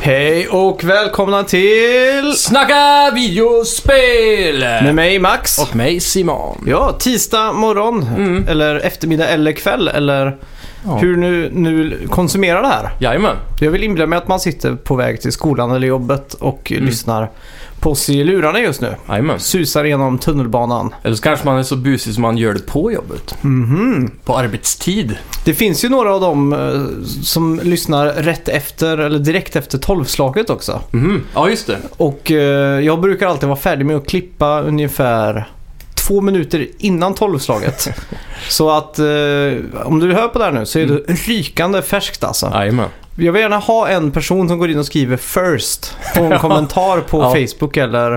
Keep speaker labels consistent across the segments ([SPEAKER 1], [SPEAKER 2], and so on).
[SPEAKER 1] Hej och välkomna till...
[SPEAKER 2] Snacka videospel!
[SPEAKER 1] Med mig Max.
[SPEAKER 2] Och mig Simon.
[SPEAKER 1] Ja, tisdag morgon eller eftermiddag eller kväll eller
[SPEAKER 2] Ja.
[SPEAKER 1] hur nu, nu konsumerar det här.
[SPEAKER 2] Jajamän.
[SPEAKER 1] Jag vill inbilla mig att man sitter på väg till skolan eller jobbet och
[SPEAKER 2] Mm.
[SPEAKER 1] lyssnar på oss i lurarna just nu.
[SPEAKER 2] Jajamän.
[SPEAKER 1] Susar genom tunnelbanan.
[SPEAKER 2] Eller så kanske man är så busig som man gör det på jobbet.
[SPEAKER 1] Mhm.
[SPEAKER 2] På arbetstid.
[SPEAKER 1] Det finns ju några av dem eh, som lyssnar rätt efter eller direkt efter tolvslaget också.
[SPEAKER 2] Mhm. Ja, just det.
[SPEAKER 1] Och eh, jag brukar alltid vara färdig med att klippa ungefär två minuter innan tolvslaget. så att eh, om du hör på det här nu så är det rykande färskt alltså.
[SPEAKER 2] Jajamän.
[SPEAKER 1] Jag vill gärna ha en person som går in och skriver first på en kommentar på
[SPEAKER 2] Ja.
[SPEAKER 1] Facebook eller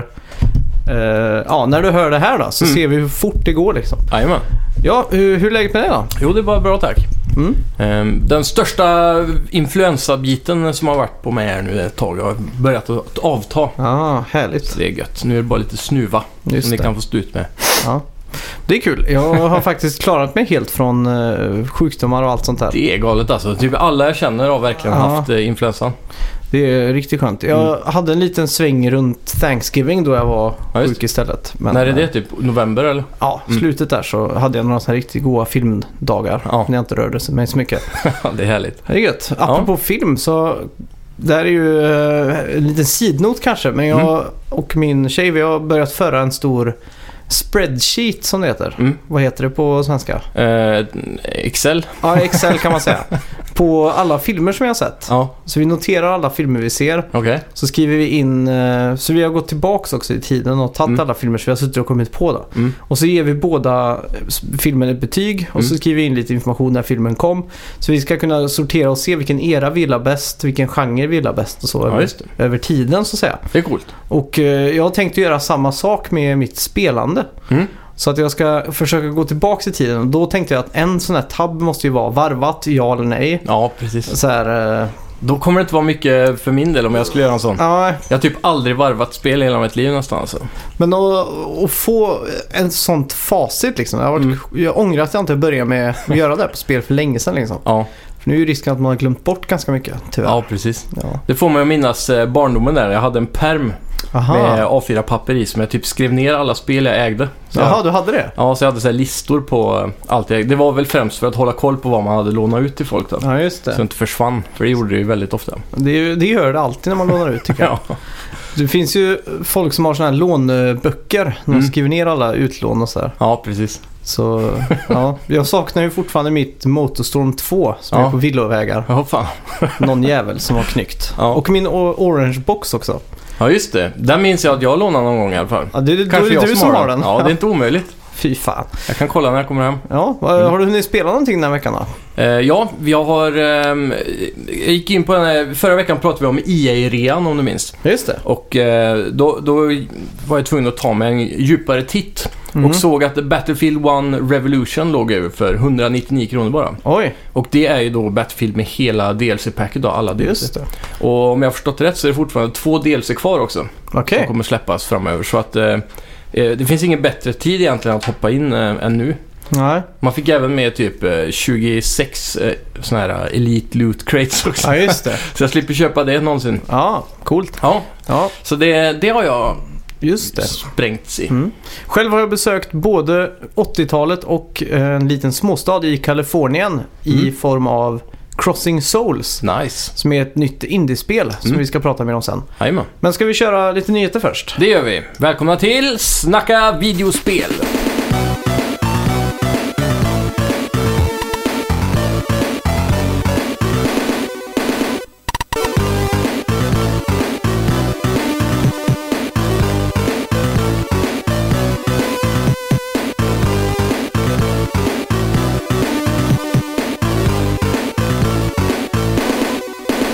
[SPEAKER 1] eh, ja, när du hör det här då så
[SPEAKER 2] Mm.
[SPEAKER 1] ser vi hur fort det går liksom.
[SPEAKER 2] Jajamän.
[SPEAKER 1] Ja, hur, hur är läget med dig då?
[SPEAKER 2] Jo, det var bra tack.
[SPEAKER 1] Mm.
[SPEAKER 2] Ehm, Den största influensabiten som har varit på mig här nu ett tag har börjat att avta.
[SPEAKER 1] Ja, härligt.
[SPEAKER 2] Så det är gött. Nu är det bara lite snuva
[SPEAKER 1] Just
[SPEAKER 2] som ni
[SPEAKER 1] det.
[SPEAKER 2] kan få stå ut med.
[SPEAKER 1] Ja. Det är kul. Jag har faktiskt klarat mig helt från eh, sjukdomar och allt sånt där.
[SPEAKER 2] Det är galet alltså. Typ alla jag känner har verkligen
[SPEAKER 1] Ja.
[SPEAKER 2] haft eh, influensan.
[SPEAKER 1] Det är riktigt skönt. Jag hade en liten sväng runt Thanksgiving då jag var
[SPEAKER 2] Mm. Ja, just
[SPEAKER 1] sjuk istället. Men,
[SPEAKER 2] När är det?
[SPEAKER 1] eh,
[SPEAKER 2] Typ november eller?
[SPEAKER 1] Ja, slutet där så hade jag några sådana här riktigt goda filmdagar.
[SPEAKER 2] Ja.
[SPEAKER 1] När jag inte rörde mig så mycket.
[SPEAKER 2] det är härligt.
[SPEAKER 1] Det är gött. Apropå film så där är ju eh, en liten sidnot kanske. Men jag
[SPEAKER 2] Mm.
[SPEAKER 1] och min tjej vi har börjat föra en stor spreadsheet som det heter.
[SPEAKER 2] Mm.
[SPEAKER 1] Vad heter det på svenska?
[SPEAKER 2] Eh, Excel?
[SPEAKER 1] Ja, Excel kan man säga. på alla filmer som jag har sett.
[SPEAKER 2] Ja,
[SPEAKER 1] Så vi noterar alla filmer vi ser.
[SPEAKER 2] okej.
[SPEAKER 1] Så skriver vi in, eh, så vi har gått tillbaks också i tiden och tagit
[SPEAKER 2] Mm.
[SPEAKER 1] alla filmer som vi har suttit och kommit på då.
[SPEAKER 2] Mm.
[SPEAKER 1] Och så ger vi båda eh, s- filmen ett betyg och så
[SPEAKER 2] Mm.
[SPEAKER 1] skriver vi in lite information när filmen kom. Så vi ska kunna sortera och se vilken era vi gillar bäst, vilken genre vi gillar bäst och så
[SPEAKER 2] Ja,
[SPEAKER 1] över,
[SPEAKER 2] just det.
[SPEAKER 1] över tiden så att säga.
[SPEAKER 2] Det är coolt.
[SPEAKER 1] Och eh, jag tänkte göra samma sak med mitt spelande.
[SPEAKER 2] Mm.
[SPEAKER 1] Så att jag ska försöka gå tillbaks i tiden och då tänkte jag att en sån här tab måste ju vara varvat, ja eller nej.
[SPEAKER 2] Ja, precis.
[SPEAKER 1] Så här, eh,
[SPEAKER 2] Då kommer det inte vara mycket för min del om jag skulle göra en sån.
[SPEAKER 1] ja,
[SPEAKER 2] Jag har typ aldrig varvat spel i hela mitt liv nästan alltså.
[SPEAKER 1] Men att, att få en sånt facit liksom. Jag, har varit,
[SPEAKER 2] Mm.
[SPEAKER 1] jag ångrar att jag inte började med att göra det här på spel för länge sedan liksom.
[SPEAKER 2] Ja,
[SPEAKER 1] För nu är ju risken att man har glömt bort ganska mycket tyvärr.
[SPEAKER 2] ja precis.
[SPEAKER 1] Ja.
[SPEAKER 2] Det får mig att minnas eh, barndomen där. Jag hade en perm
[SPEAKER 1] Aha.
[SPEAKER 2] med A4-papper i som jag typ skrev ner alla spel jag ägde. Så
[SPEAKER 1] Jaha,
[SPEAKER 2] jag,
[SPEAKER 1] du hade det?
[SPEAKER 2] ja, så jag hade så här listor på eh, allt jag ägde. Det var väl främst för att hålla koll på vad man hade lånat ut till folk då.
[SPEAKER 1] Ja, just
[SPEAKER 2] Så det
[SPEAKER 1] det.
[SPEAKER 2] inte försvann, för det gjorde det ju väldigt ofta.
[SPEAKER 1] Det, är ju- det gör det alltid när man lånar ut tycker jag.
[SPEAKER 2] Ja,
[SPEAKER 1] Det finns ju folk som har sådana här låneböcker. När de
[SPEAKER 2] Mm.
[SPEAKER 1] skriver ner alla utlån och sådär.
[SPEAKER 2] ja precis.
[SPEAKER 1] Så, ja. Jag saknar ju fortfarande mitt Motorstorm 2 som
[SPEAKER 2] Ja.
[SPEAKER 1] är på villovägar.
[SPEAKER 2] Ja, fan.
[SPEAKER 1] Någon jävel som var knyckt.
[SPEAKER 2] Ja.
[SPEAKER 1] Och min o- orange box också.
[SPEAKER 2] Ja, just det. Där minns jag att jag lånade någon gång i alla fall.
[SPEAKER 1] Ja, det är, då är det
[SPEAKER 2] jag
[SPEAKER 1] du som har den.
[SPEAKER 2] Ja, det är inte omöjligt.
[SPEAKER 1] Fy fan.
[SPEAKER 2] Jag kan kolla när jag kommer hem.
[SPEAKER 1] Ja, vad- har du hunnit spela någonting den här veckan då?
[SPEAKER 2] Eh, ja, jag har... ehm, jag gick in på den här, Förra veckan pratade vi om EA-rean om du minns.
[SPEAKER 1] Just det.
[SPEAKER 2] Och eh, då, då var jag tvungen att ta mig en djupare titt.
[SPEAKER 1] Mm.
[SPEAKER 2] Och såg att Battlefield 1 Revolution låg över för 199 kronor bara.
[SPEAKER 1] Oj,
[SPEAKER 2] Och det är ju då Battlefield med hela DLC-packet då, alla DLC.
[SPEAKER 1] just det.
[SPEAKER 2] Och om jag har förstått rätt så är det fortfarande två DLC kvar också. Som
[SPEAKER 1] Okej.
[SPEAKER 2] kommer släppas framöver. Så att eh, eh, det finns ingen bättre tid egentligen att hoppa in eh, än nu.
[SPEAKER 1] Nej.
[SPEAKER 2] Man fick även med typ eh, 26 eh, såna här Elite Loot Crates också.
[SPEAKER 1] Ja, just det.
[SPEAKER 2] Så jag slipper köpa det någonsin.
[SPEAKER 1] Ja, coolt.
[SPEAKER 2] Ja,
[SPEAKER 1] Ja,
[SPEAKER 2] så det, det har jag
[SPEAKER 1] just det.
[SPEAKER 2] sprängts i.
[SPEAKER 1] Mm. Själv har jag besökt både 80-talet och eh, en liten småstad i Kalifornien i
[SPEAKER 2] Mm.
[SPEAKER 1] form av Crossing Souls.
[SPEAKER 2] Nice.
[SPEAKER 1] Som är ett nytt indiespel som
[SPEAKER 2] Mm.
[SPEAKER 1] vi ska prata mer om sen.
[SPEAKER 2] Jajamän.
[SPEAKER 1] Men ska vi köra lite nyheter först?
[SPEAKER 2] Det gör vi. Välkomna till Snacka videospel.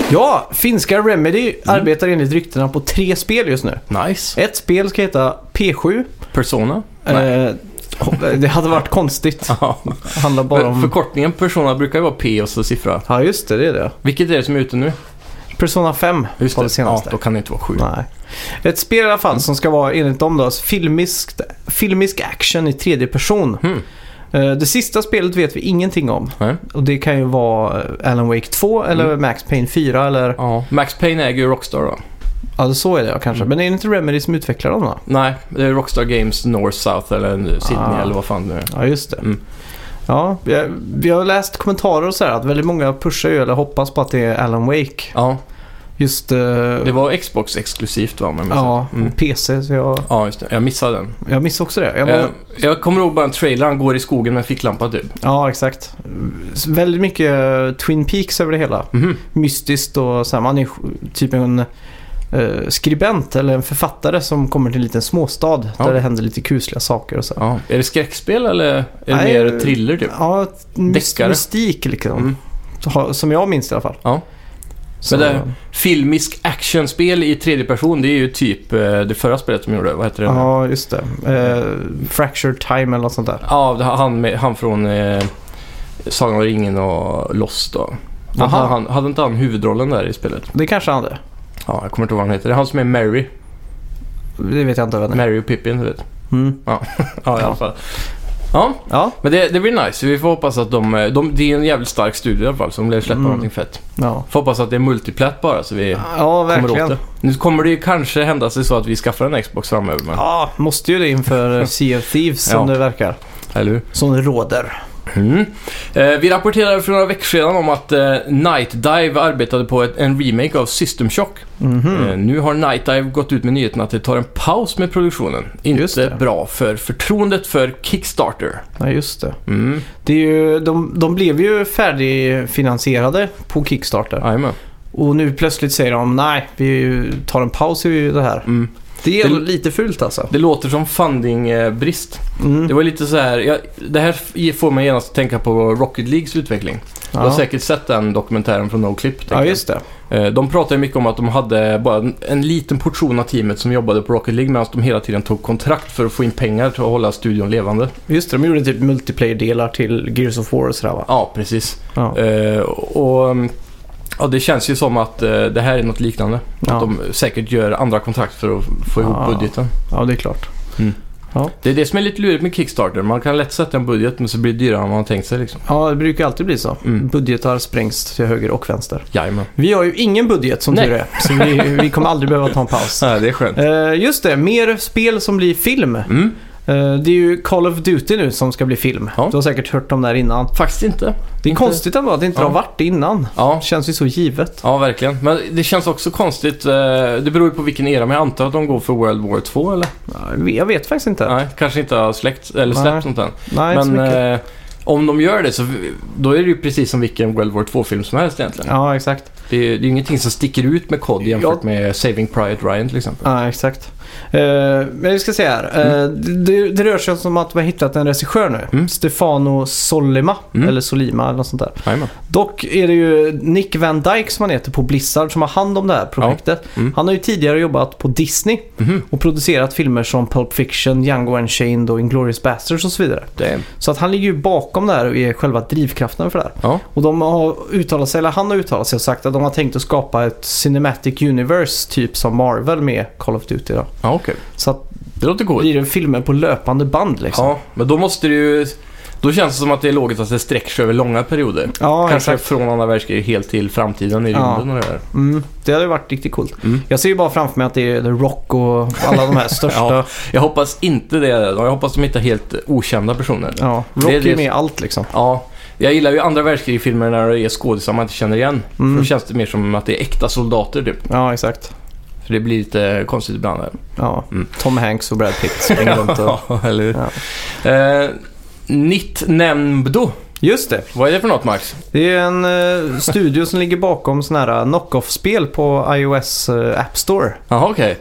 [SPEAKER 1] Ja, finska Remedy arbetar enligt ryktena på tre spel just nu.
[SPEAKER 2] Nice.
[SPEAKER 1] Ett spel ska heta P7.
[SPEAKER 2] Persona? Nej.
[SPEAKER 1] Eh, det hade varit konstigt.
[SPEAKER 2] Ja.
[SPEAKER 1] Handlar bara om...
[SPEAKER 2] Förkortningen Persona brukar ju vara P och så siffra.
[SPEAKER 1] Ja, just det. Det är det.
[SPEAKER 2] Vilket är det som är ute nu?
[SPEAKER 1] Persona 5
[SPEAKER 2] Just
[SPEAKER 1] var
[SPEAKER 2] det.
[SPEAKER 1] det senaste.
[SPEAKER 2] Ja, då kan det inte vara sju.
[SPEAKER 1] Nej. Ett spel i alla fall som ska vara, enligt dem då, filmiskt, filmisk action i tredje person.
[SPEAKER 2] Hmm.
[SPEAKER 1] Eh, Det sista spelet vet vi ingenting om.
[SPEAKER 2] Nej.
[SPEAKER 1] Och det kan ju vara eh, Alan Wake 2 eller
[SPEAKER 2] Mm.
[SPEAKER 1] Max Payne 4 eller...
[SPEAKER 2] Ja. Max Payne äger ju Rockstar då.
[SPEAKER 1] Ja, så är det ja, kanske.
[SPEAKER 2] Mm.
[SPEAKER 1] Men är det inte Remedy som utvecklar dem då?
[SPEAKER 2] Nej, det är Rockstar Games North South eller nu Sydney
[SPEAKER 1] Ah.
[SPEAKER 2] eller vad fan det nu är.
[SPEAKER 1] Ja, just det.
[SPEAKER 2] Mm.
[SPEAKER 1] Ja, jag, vi har läst kommentarer och så här att väldigt många pushar ju eller hoppas på att det är Alan Wake.
[SPEAKER 2] Ja,
[SPEAKER 1] Just eh,
[SPEAKER 2] det var Xbox exklusivt va? om jag minns
[SPEAKER 1] ja,
[SPEAKER 2] rätt. Mm.
[SPEAKER 1] och PC. Så jag,
[SPEAKER 2] ja, just det. Jag missade den.
[SPEAKER 1] jag missade också det. Jag,
[SPEAKER 2] Eh, Jag kommer ihåg bara en trailer. Han går i skogen med en ficklampa typ.
[SPEAKER 1] Ja, exakt. S- Väldigt mycket eh, Twin Peaks över det hela.
[SPEAKER 2] Mhm.
[SPEAKER 1] Mystiskt och så här, man är sj- typ en eh, skribent eller en författare som kommer till en liten småstad
[SPEAKER 2] Ja.
[SPEAKER 1] där det händer lite kusliga saker och så. här.
[SPEAKER 2] Ja. Är det skräckspel eller är det
[SPEAKER 1] Nej,
[SPEAKER 2] mer thriller typ?
[SPEAKER 1] Ja, mys-
[SPEAKER 2] Deckare.
[SPEAKER 1] mystik liksom.
[SPEAKER 2] Mm.
[SPEAKER 1] Ha- Som jag minns i alla fall.
[SPEAKER 2] Ja.
[SPEAKER 1] Så,
[SPEAKER 2] Men det- Filmisk actionspel i tredje person, det är ju typ eh, det förra spelet de gjorde. Vad heter det? nu?
[SPEAKER 1] Ja, just det. Eh, Fracture Time eller något sånt där.
[SPEAKER 2] Ja, det- han, med, han från eh, Sagan om ringen och Lost då. Var inte
[SPEAKER 1] Aha.
[SPEAKER 2] Han, hade inte han huvudrollen där i spelet?
[SPEAKER 1] Det kanske han hade.
[SPEAKER 2] Ja, jag kommer inte ihåg vad han heter. Det är han som är Mary.
[SPEAKER 1] Det vet jag inte vem det är.
[SPEAKER 2] Mary och Pippin, du vet.
[SPEAKER 1] Mm.
[SPEAKER 2] Ja, i alla fall. Ja,
[SPEAKER 1] Ja,
[SPEAKER 2] men det, det blir nice. Vi får hoppas att de, eh, de... Det är en jävligt stark studio i alla fall, så de lär släppa
[SPEAKER 1] Mm.
[SPEAKER 2] någonting fett.
[SPEAKER 1] ja.
[SPEAKER 2] Får hoppas att det är multiplatt bara, så vi
[SPEAKER 1] Ja,
[SPEAKER 2] kommer åt
[SPEAKER 1] verkligen.
[SPEAKER 2] det. Nu kommer det ju kanske hända sig så att vi skaffar en Xbox framöver, men...
[SPEAKER 1] Ja, måste ju det inför Sea of Thieves som
[SPEAKER 2] Ja.
[SPEAKER 1] det verkar.
[SPEAKER 2] Eller hur?
[SPEAKER 1] Som det råder.
[SPEAKER 2] Mm. Eh, vi rapporterade för några veckor sedan om att eh, Night Dive arbetade på ett, en remake av System Shock.
[SPEAKER 1] Mhm.
[SPEAKER 2] Eh, nu har Night Dive gått ut med nyheten att det tar en paus med produktionen.
[SPEAKER 1] Just
[SPEAKER 2] Inte
[SPEAKER 1] det.
[SPEAKER 2] bra för förtroendet för Kickstarter.
[SPEAKER 1] Ja, just det.
[SPEAKER 2] Mm.
[SPEAKER 1] det är ju, de, de blev ju färdigfinansierade på Kickstarter.
[SPEAKER 2] jajamän.
[SPEAKER 1] Och nu plötsligt säger de nej, vi tar en paus i det här.
[SPEAKER 2] Mm.
[SPEAKER 1] Det är
[SPEAKER 2] Det-
[SPEAKER 1] lite fult alltså.
[SPEAKER 2] Det låter som fundingbrist.
[SPEAKER 1] Mm.
[SPEAKER 2] Det var lite så här, ja, det här f- får mig genast att tänka på Rocket Leagues utveckling. Du har
[SPEAKER 1] Ja.
[SPEAKER 2] säkert sett den dokumentären från Noclip. tänker
[SPEAKER 1] ja,
[SPEAKER 2] jag.
[SPEAKER 1] just det.
[SPEAKER 2] Eh, De pratade mycket om att de hade bara en- en liten portion av teamet som jobbade på Rocket League medan de hela tiden tog kontrakt för att få in pengar till att hålla studion levande.
[SPEAKER 1] Just det, de gjorde typ multiplayer-delar till Gears of War och sådär va?
[SPEAKER 2] Ja, precis.
[SPEAKER 1] Ja.
[SPEAKER 2] Eh, Och mm, ja, det känns ju som att eh, det här är något liknande.
[SPEAKER 1] Ja.
[SPEAKER 2] Att de säkert gör andra kontrakt för att få ihop
[SPEAKER 1] Ja.
[SPEAKER 2] budgeten.
[SPEAKER 1] ja, det är klart.
[SPEAKER 2] Det är det som är lite lurigt med Kickstarter. Man kan lätt sätta en budget men så blir det dyrare än man har tänkt sig. Liksom.
[SPEAKER 1] Ja, det brukar alltid bli så.
[SPEAKER 2] Mm.
[SPEAKER 1] Budgetar sprängs till höger och vänster.
[SPEAKER 2] Jajamän.
[SPEAKER 1] Vi har ju ingen budget som
[SPEAKER 2] Nej.
[SPEAKER 1] tur är, så vi, vi kommer aldrig behöva ta en paus.
[SPEAKER 2] Ja, det är skönt.
[SPEAKER 1] Eh, just det, mer spel som blir film.
[SPEAKER 2] Mm.
[SPEAKER 1] Eh, det är ju Call of Duty nu som ska bli film.
[SPEAKER 2] Ja.
[SPEAKER 1] Du har säkert hört om det här innan.
[SPEAKER 2] Faktiskt inte.
[SPEAKER 1] Det är
[SPEAKER 2] Inte-
[SPEAKER 1] konstigt ändå att det inte
[SPEAKER 2] Ja.
[SPEAKER 1] har varit det innan.
[SPEAKER 2] Ja,
[SPEAKER 1] Det känns ju så givet.
[SPEAKER 2] Ja, verkligen. Men det känns också konstigt. eh, Det beror ju på vilken era, men jag antar att de går för World War 2 eller?
[SPEAKER 1] Jag vet faktiskt inte.
[SPEAKER 2] Nej, kanske inte har släckt eller
[SPEAKER 1] Nej.
[SPEAKER 2] släppt sånt än.
[SPEAKER 1] Nej, inte så
[SPEAKER 2] Men
[SPEAKER 1] mycket.
[SPEAKER 2] eh, om de gör det så då är det ju precis som vilken World War 2-film som helst egentligen.
[SPEAKER 1] Ja, exakt.
[SPEAKER 2] Det, är, det är ingenting som sticker ut med COD jämfört
[SPEAKER 1] Ja.
[SPEAKER 2] med Saving Private Ryan till exempel.
[SPEAKER 1] Ja, exakt. Eh, men vi ska se här. Eh, det, det rör sig om att vi har hittat en regissör nu.
[SPEAKER 2] Mm.
[SPEAKER 1] Stefano Solima.
[SPEAKER 2] Mm.
[SPEAKER 1] Eller Solima eller något sånt där.
[SPEAKER 2] Jajamän.
[SPEAKER 1] Dock är det ju Nick Van Dyke som han heter på Blizzard som har hand om det här projektet.
[SPEAKER 2] Mm.
[SPEAKER 1] Han har ju tidigare jobbat på Disney
[SPEAKER 2] Mhm.
[SPEAKER 1] och producerat filmer som Pulp Fiction, Django Unchained och Inglourious Basterds och så vidare.
[SPEAKER 2] Damn.
[SPEAKER 1] Så att han ligger ju bakom det här och är själva drivkraften för det här.
[SPEAKER 2] Ja.
[SPEAKER 1] Och de har uttalat sig, eller han har uttalat sig och sagt att de har tänkt att skapa ett Cinematic Universe typ som Marvel med Call of Duty då.
[SPEAKER 2] Ja, okej.
[SPEAKER 1] Så att
[SPEAKER 2] Det låter
[SPEAKER 1] det
[SPEAKER 2] coolt.
[SPEAKER 1] blir en filmer på löpande band liksom.
[SPEAKER 2] Ja, men då måste det ju... Då känns det som att det är logiskt att det sträcker sig över långa perioder.
[SPEAKER 1] Ja,
[SPEAKER 2] Kanske från andra världskriget helt till framtiden i
[SPEAKER 1] Ja.
[SPEAKER 2] rymden och det där.
[SPEAKER 1] Mm, det hade ju varit riktigt coolt.
[SPEAKER 2] Mm.
[SPEAKER 1] Jag ser ju bara framför mig att det är The Rock och alla de här största.
[SPEAKER 2] Ja. Jag hoppas inte det. Jag hoppas de hittar helt okända personer.
[SPEAKER 1] Ja,
[SPEAKER 2] Det är
[SPEAKER 1] Rock är
[SPEAKER 2] det-
[SPEAKER 1] med i allt liksom.
[SPEAKER 2] Ja, jag gillar ju andra världskrigsfilmer när det är skådisar man inte känner igen.
[SPEAKER 1] Mm.
[SPEAKER 2] För då känns det mer som att det är äkta soldater typ.
[SPEAKER 1] Ja, exakt.
[SPEAKER 2] För det blir lite konstigt ibland. Där.
[SPEAKER 1] Ja.
[SPEAKER 2] Mm.
[SPEAKER 1] Tom Hanks och Brad Pitt springer runt och...
[SPEAKER 2] eller hur?
[SPEAKER 1] Ja.
[SPEAKER 2] Eh, Nittnämndo,
[SPEAKER 1] Just det.
[SPEAKER 2] vad är det för något Max?
[SPEAKER 1] Det är en eh, studio som ligger bakom såna här eh, knock-off-spel på iOS eh, App Store.
[SPEAKER 2] Jaha, okej.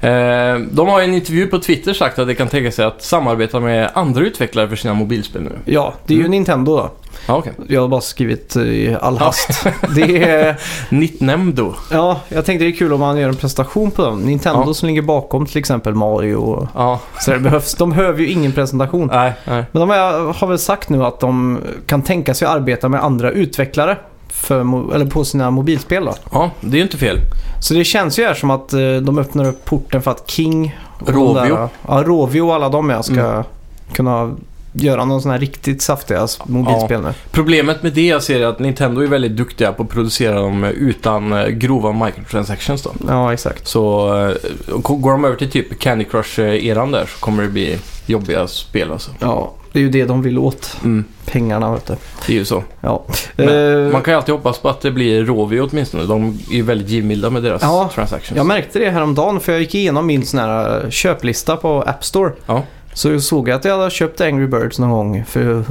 [SPEAKER 2] Eh, de har i en intervju på Twitter sagt att de kan tänka sig att samarbeta med andra utvecklare för sina mobilspel nu.
[SPEAKER 1] Ja, det är ju
[SPEAKER 2] Mm.
[SPEAKER 1] Nintendo då.
[SPEAKER 2] Ja, okej.
[SPEAKER 1] Jag har bara skrivit eh, i all hast. det är,
[SPEAKER 2] Nittnämndo.
[SPEAKER 1] ja, jag tänkte det är kul om man gör en presentation på dem. Nintendo
[SPEAKER 2] Ja.
[SPEAKER 1] som ligger bakom till exempel Mario och
[SPEAKER 2] Ja,
[SPEAKER 1] så det behövs. De behöver ju ingen presentation.
[SPEAKER 2] nej, nej.
[SPEAKER 1] Men de har, har väl sagt nu att de kan tänka sig att arbeta med andra utvecklare för, mo- eller på sina mobilspel då.
[SPEAKER 2] Ja, det är ju inte fel.
[SPEAKER 1] Så det känns ju här som att eh, de öppnar upp porten för att King och de
[SPEAKER 2] Rovio. Mm.
[SPEAKER 1] där- ja, Rovio och alla de jag ska kunna göra någon sån här riktigt saftiga s- mobilspel nu.
[SPEAKER 2] Problemet med det jag ser är att Nintendo är väldigt duktiga på att producera dem utan eh, grova microtransactions då.
[SPEAKER 1] Ja, exakt.
[SPEAKER 2] Så eh, k- går de över till typ Candy Crush-eran där så kommer det bli jobbiga spel alltså.
[SPEAKER 1] Ja, det är ju det de vill åt.
[SPEAKER 2] Mm,
[SPEAKER 1] Pengarna, vet du.
[SPEAKER 2] det är ju så.
[SPEAKER 1] Ja.
[SPEAKER 2] Men
[SPEAKER 1] Eh,
[SPEAKER 2] Man kan ju alltid hoppas på att det blir Rovio åtminstone. De är ju väldigt givmilda med deras
[SPEAKER 1] Ja,
[SPEAKER 2] transactions.
[SPEAKER 1] Jag märkte det häromdagen för jag gick igenom min sån här eh, köplista på App Store.
[SPEAKER 2] Ja.
[SPEAKER 1] Så såg jag att jag hade köpt Angry Birds någon gång för